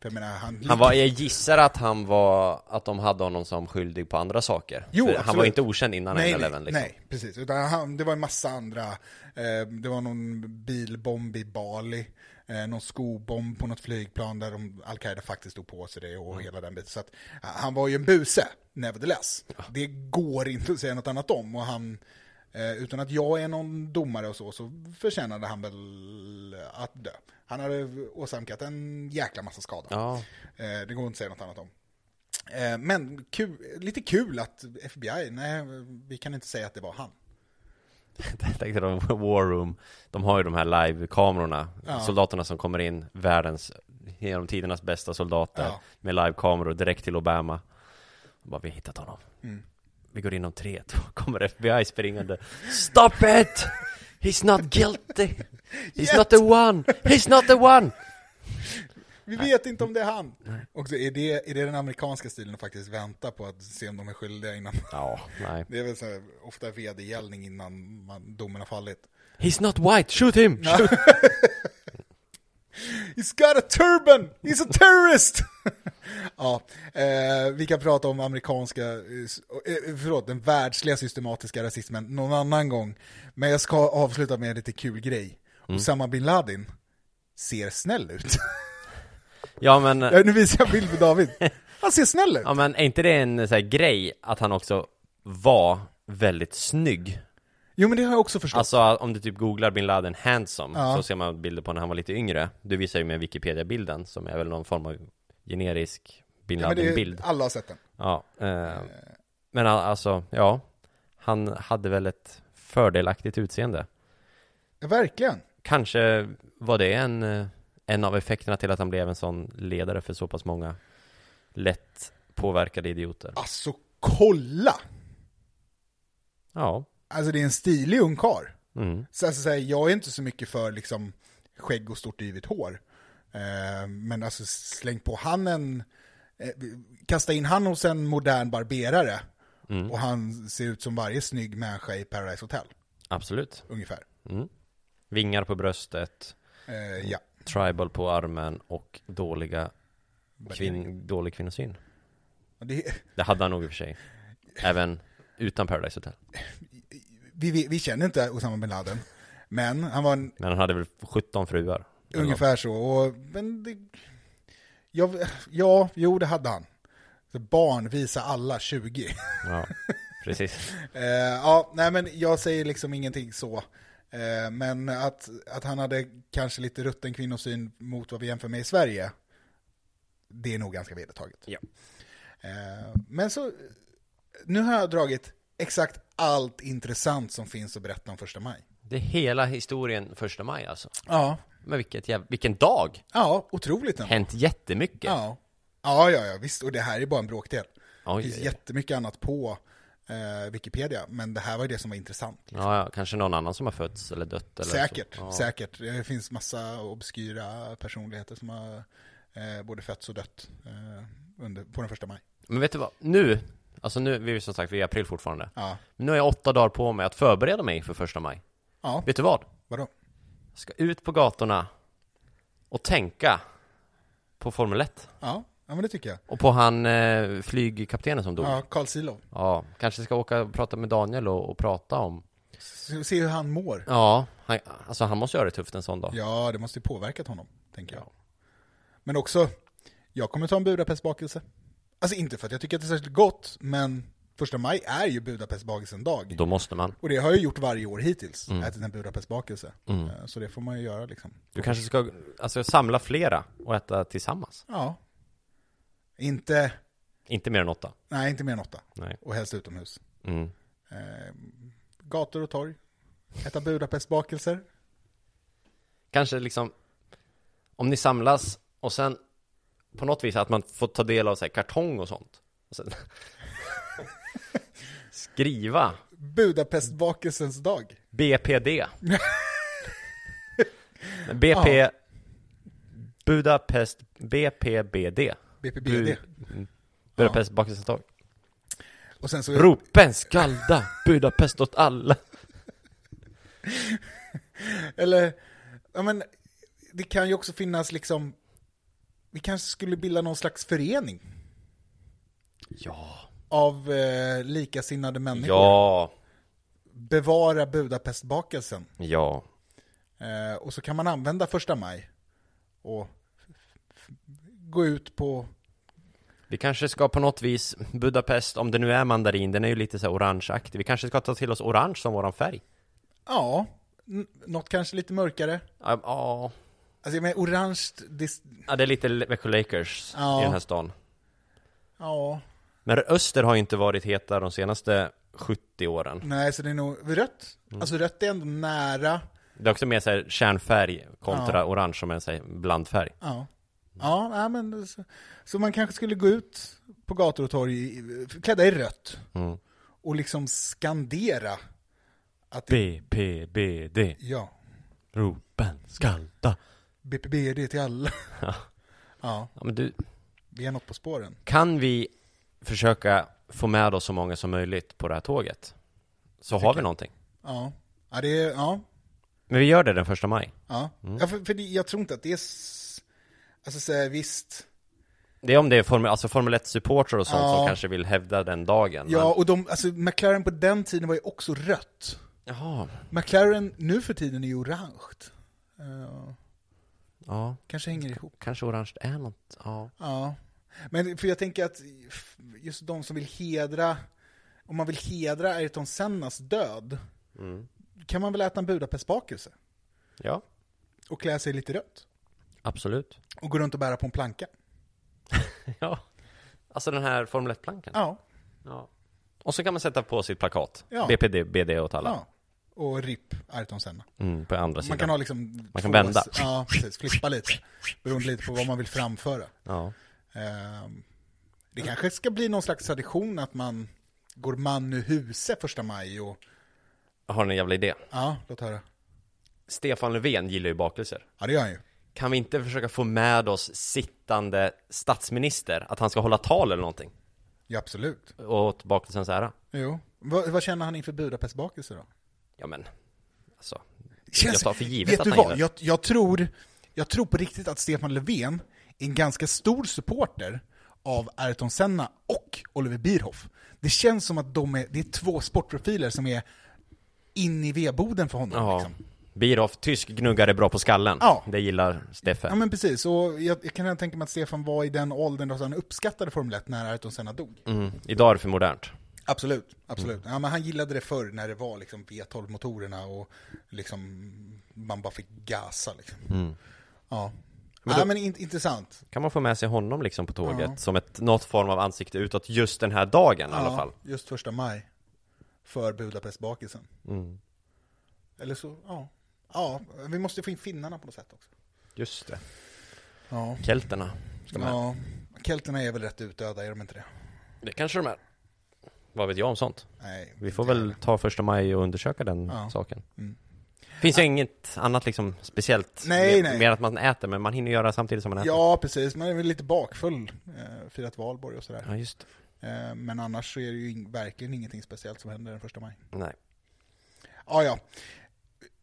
För jag menar, han... Han var, jag gissar att han var, att de hade honom som skyldig på andra saker. Jo, För han absolut. var inte okänd innan nej, 9-11 nej, liksom. nej, precis. Utan han, det var en massa andra, eh, det var någon bilbomb i Bali, eh, någon skobomb på något flygplan där de, Al-Qaida faktiskt tog på sig det och hela den biten. Så att, eh, han var ju en buse, nevertheless. Det går inte att säga något annat om. Och han, eh, utan att jag är någon domare och så, så förtjänade han väl att dö. Han hade åsamkat en jäkla massa skada. Ja, Eh, det går inte att säga något annat om. Eh, Men kul, lite kul att FBI, nej, vi kan inte säga att det var han. jag tänkte de War Room. De har ju de här live-kamerorna. Ja. Soldaterna som kommer in, världens, genom tidernas bästa soldater. Ja. Med live-kameror direkt till Obama. Och bara, vi har hittat honom. Vi går in om tre, då kommer FBI springande. Stop it! He's not guilty! He's Yet. not the one! He's not the one! Vi vet inte om det är han. Och så är det, är det den amerikanska stilen att faktiskt vänta på att se om de är skyldiga innan. Ja, nej. Det är väl så här, ofta vedergällning innan man, domen har fallit. He's not white, shoot him! Shoot. He's got a turban! He's a terrorist! ja, eh, vi kan prata om amerikanska, eh, s- eh, förlåt, den världsliga systematiska rasismen någon annan gång. Men jag ska avsluta med en lite kul grej. Mm. Osama bin Laden ser snäll ut. Ja men, Ja, nu visar jag bild på David. Han ser snäll ut. ja men är inte det en så här grej att han också var väldigt snygg? Jo, men det har jag också förstått. Alltså om du typ googlar bin Laden handsome Ja. så ser man bilder på när han var lite yngre Du visar ju med Wikipedia-bilden som är väl någon form av generisk bin ja, men det, Laden-bild alla har sett den. Ja, eh, men han- alltså, ja Han hade väl ett fördelaktigt utseende Ja, verkligen. Kanske var det en, eh, en av effekterna till att han blev en sån ledare för så pass många lätt påverkade idioter Alltså, kolla! Ja, Alltså, det är en stilig ung karl. mm. Så, alltså, så här, jag är inte så mycket för liksom, skägg och stort yvigt hår. Eh, men alltså släng på han en... Eh, kasta in han hos en modern barberare. Och han ser ut som varje snygg människa i Paradise Hotel, absolut ungefär. Mm. Vingar på bröstet, Eh, ja. tribal på armen och dåliga kvin- dålig kvinnosyn. Och Det, Det hade han nog i och för sig. Även utan Paradise Hotel. vi, vi, vi känner inte Osama bin Laden, men han var en Men han hade väl 17 fruar. Eller något. Ungefär så. Och, men det, ja, ja, jo det hade han. Så barn visa alla 20. Ja, precis. Eh, ja, nej men jag säger liksom ingenting så. Eh, men att, att han hade kanske lite rutten kvinnosyn mot vad vi jämför med i Sverige, det är nog ganska vedertaget. Ja. Eh, men så, nu har jag dragit exakt allt intressant som finns att berätta om första maj. Det är hela historien första maj alltså. Ja. Men vilket jäv... vilken dag! Ja, otroligt ändå. Hänt jättemycket. Ja. Ja, ja, ja, visst. Och det här är bara en bråkdel. Oj, det finns oj, oj. jättemycket annat på eh, Wikipedia, men det här var ju det som var intressant. Ja, ja, kanske någon annan som har fötts eller dött eller säkert, Så. Ja. säkert. Det finns massa obskyra personligheter som har eh, både fötts och dött eh, under, på den första maj. Men vet du vad? Nu, alltså nu, vi är ju som sagt, vi är i april fortfarande. Ja, Nu har jag åtta dagar på mig att förbereda mig för första maj. ja Vet du vad? vadå? ska ut på gatorna och tänka på Formel 1 Ja, ja, men det tycker jag. och på han eh, flygkaptenen som dog. Ja. Ja, Carl Silo. kanske ska åka och prata med Daniel och, och prata om. Se hur han mår. Ja, han, alltså han måste göra det tufft en sån dag. Ja, det måste ju påverkat honom, tänker jag. Ja. Men också, jag kommer ta en Budapestbakelse. Alltså inte för att jag tycker att det är särskilt gott, men första maj är ju Budapestbakelsen dag. Då måste man. Och det har jag gjort varje år hittills, Mm. ätit en Budapestbakelse. Eh, Så det får man ju göra liksom. Du kanske ska alltså, samla flera och äta tillsammans. Ja. Inte, Inte mer än åtta. nej inte mer än åtta. Nej. Och helst utomhus. Mm. Eh, gator och torg. Äta Budapestbakelser. Kanske liksom, om ni samlas och sen på något vis att man får ta del av så här, kartong och sånt. Och sen... Skriva Budapestbakelsens dag. BPD. BP... Budapest BPBD. BPBD. Budapest bakelsentag. Och sen så... Ropen skalda, Budapest åt alla. Eller, ja men, det kan ju också finnas liksom, vi kanske skulle bilda någon slags förening Ja. av eh, likasinnade människor. Ja. Bevara Budapestbakelsen. Ja. Eh, och så kan man använda första maj och f- f- gå ut på, Vi kanske ska på något vis, Budapest, om det nu är mandarin, den är ju lite så här orangeaktig. Vi kanske ska ta till oss orange som våran färg. ja, n- något kanske lite mörkare. Ja, Ja, Alltså jag menar orange, det, Ja, det är lite Växjö Lakers Ja. i den här stan. ja, Men öster har ju inte varit heta de senaste 70 åren. nej så det är nog rött. Mm. Alltså rött är ändå nära, Det är också mer så här kärnfärg kontra orange som är en så här blandfärg. Ja, ja nej, men så, så man kanske skulle gå ut på gator och torg i- klädda i rött Mm. och liksom skandera att det, B, P, B, D, ja, ropen, skalda. BPBD till alla. Ja. Ja, Ja, men du, vi är något på spåren. kan vi försöka få med oss så många som möjligt på det här tåget? Så har vi någonting. Ja, ja det är, ja, Men vi gör det den första maj. ja. Mm. ja för, för det, jag tror inte att det är, s- alltså så här, visst, Det är om det är formel, alltså Formel 1-supportrar och sånt som Ja. kanske vill hävda den dagen. ja och de, alltså McLaren på den tiden var ju också rött. Men, jaha, McLaren nu för tiden är ju orange. Eh, ja, kanske hänger ihop. kanske orange är något, ja. Ja, men för jag tänker att just de som vill hedra, om man vill hedra Ayrton Sennas död, Mm. kan man väl äta en Budapestbakelse Ja, och klä sig lite rött absolut. och gå runt och bära på en planka. Ja. Alltså den här Formel 1-plankan. Ja, Ja. Och så kan man sätta på sitt plakat. Ja. BPD, BD åt alla. ja. och RIP Ayrton Senna. Mm, på andra Man sidan. kan ha liksom... Man kan två- vända. Ja, precis. Flippa lite. Beroende lite på vad man vill framföra. Ja. Ehm, Det kanske ska bli någon slags tradition att man går man ur huse första maj och... Jag Har ni en jävla idé? Ja, låt höra. Stefan Löfven gillar ju bakelser. Ja, det gör han ju. Kan vi inte försöka få med oss sittande statsminister? Att han ska hålla tal eller någonting? Ja, absolut. Åt bakelsens ära. Jo. Vad, vad känner han inför Budapestbakelse då? Ja men, alltså. Jag tar för givet vet att du han vad? gillar Jag, jag, tror, jag tror på riktigt att Stefan Löfven är en ganska stor supporter av Ayrton Senna och Oliver Bierhoff. Det känns som att de är, det är två sportprofiler som är in i vedboden för honom. Ja. Liksom. Biroff, tysk gnuggare bra på skallen. Ja. Det gillar Steffe. ja, men precis. Och jag, jag kan redan tänka mig att Stefan var i den åldern då han uppskattade Formel 1 när Ayrton Senna dog. Mm. Idag är det för modernt. Absolut, absolut. Ja, men han gillade det förr när det var liksom V12-motorerna och liksom man bara fick gasa. Liksom. Mm. Ja. Men, ja, men in, intressant. Kan man få med sig honom liksom på tåget Ja. som ett, något form av ansikte utåt just den här dagen i alla Ja, fall. Just första maj. För Budapestbakelsen. Mm. Eller så, ja. Ja, vi måste få in finnarna på något sätt också. Just det. Ja. Kelterna ska med. ja. Kelterna är väl rätt utdöda, är de inte det? Det kanske de är. Vad vet jag om sånt? Nej. Vi får väl ta första maj och undersöka den Ja. Mm. saken. Finns ju inget annat liksom speciellt. Nej, mer, nej. mer att man äter, men man hinner göra samtidigt som man äter. Ja, precis. Man är väl lite bakfull. Eh, firat valborg och sådär. ja just det. Eh, men annars så är det ju ing- verkligen ingenting speciellt som händer den första maj. Nej. Ja, ja.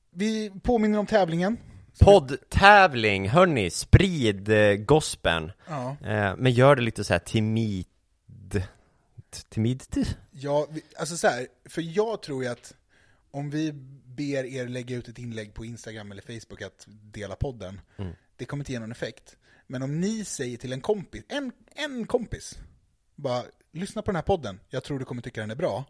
Vi påminner om tävlingen. Poddtävling, hörni, sprid eh, gospeln. Ja. Eh, men gör det lite så här timid. T- Timid? Ja, vi, alltså så här, för jag tror ju att om vi ber er lägga ut ett inlägg på Instagram eller Facebook att dela podden, det kommer inte ge någon effekt. Men om ni säger till en kompis, en, en kompis, bara lyssna på den här podden, jag tror du kommer tycka den är bra.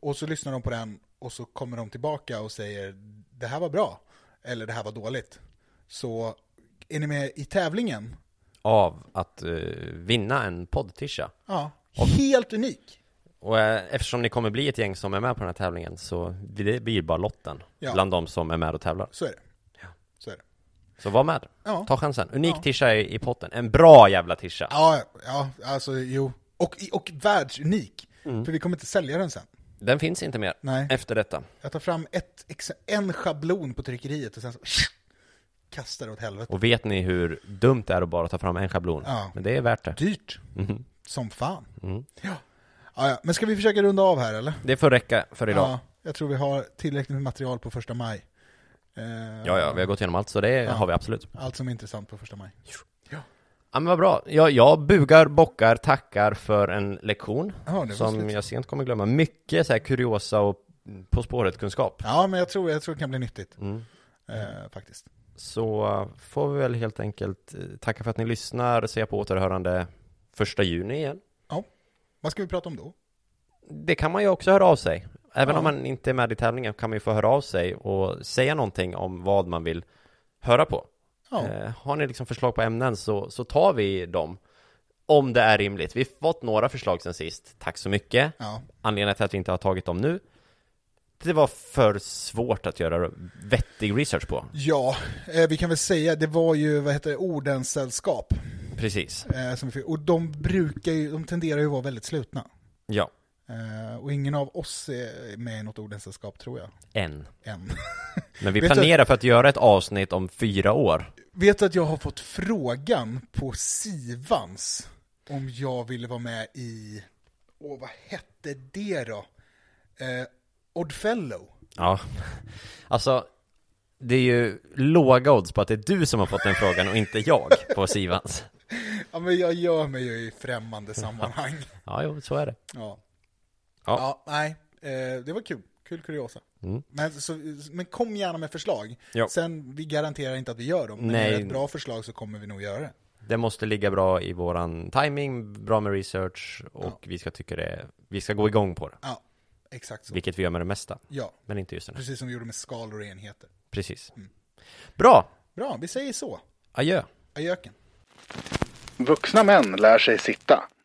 Och så lyssnar de på den och så kommer de tillbaka och säger det här var bra, eller det här var dåligt. Så är ni med i tävlingen? Av att eh, vinna en poddtisha. Ja, helt unik. Och eh, eftersom ni kommer bli ett gäng som är med på den här tävlingen så det blir bara lotten Ja. bland de som är med och tävlar. Så är det. Så är det. Så var med. Ja. Ta chansen. Unik Ja. tisha i, i potten. En bra jävla tisha. Ja, ja, alltså jo. Och, och världsunik. Mm. För vi kommer inte sälja den sen. Den finns inte mer Nej. efter detta. Jag tar fram ett, ex- en schablon på tryckeriet och sen så kasta det åt helvete. Och vet ni hur dumt det är att bara ta fram en schablon? Ja. Men det är värt det. Dyrt. Mm-hmm. Som fan. Mm. Ja. Ja, ja. Men ska vi försöka runda av här eller? Det får räcka för idag. Ja, jag tror vi har tillräckligt med material på första maj. Eh, Ja, ja, vi har gått igenom allt, så det har vi absolut. Allt som är intressant på första maj. Ja. Ja, men vad bra. Jag, jag bugar, bockar, tackar för en lektion Ja, det var som slut. jag sent kommer glömma. Mycket så här kuriosa och På spåret-kunskap. Mm. Ja, men jag tror, jag tror det kan bli nyttigt. Eh, faktiskt. Så eh, får vi väl helt enkelt eh, tacka för att ni lyssnar, säga på återhörande första juni igen. Ja. Vad ska vi prata om då? Det kan man ju också höra av sig. Även Ja. om man inte är med i tävlingen kan man ju få höra av sig och säga någonting om vad man vill höra på. Ja, Eh, har ni liksom förslag på ämnen så, så tar vi dem. Om det är rimligt. Vi har fått några förslag sen sist. Tack så mycket. ja. Anledningen till att vi inte har tagit dem nu. Det var för svårt att göra vettig research på. ja eh, vi kan väl säga, det var ju, vad heter det, ordens sällskap. Precis. Eh, som vi fick, och de brukar ju, de tenderar ju att vara väldigt slutna. Ja. Eh, och ingen av oss är med i något ordens sällskap tror jag, En. än. Men vi Vet du- planerar för att göra ett avsnitt om fyra år. Vet du att jag har fått frågan på Sivans om jag ville vara med i, åh vad hette det då? Eh, Oddfellow. Ja. Alltså, det är ju låga odds på att det är du som har fått den frågan och inte jag på Sivans. Ja men jag gör mig ju i främmande sammanhang. Ja, jo, så är det. Ja. Ja. Mm. ja nej, eh, det var kul. Kul kuriosa. Men, så, men kom gärna med förslag. Ja. Sen, vi garanterar inte att vi gör dem. Men Nej. är det ett bra förslag så kommer vi nog göra det. Det måste ligga bra i våran timing, bra med research och vi ska tycka det, vi ska gå igång på det. Ja, exakt så. Vilket vi gör med det mesta, Ja, men inte just den här. precis som vi gjorde med skalor och enheter. Precis. Bra! Bra, vi säger så. Adjö! Ajöken. Vuxna män lär sig sitta.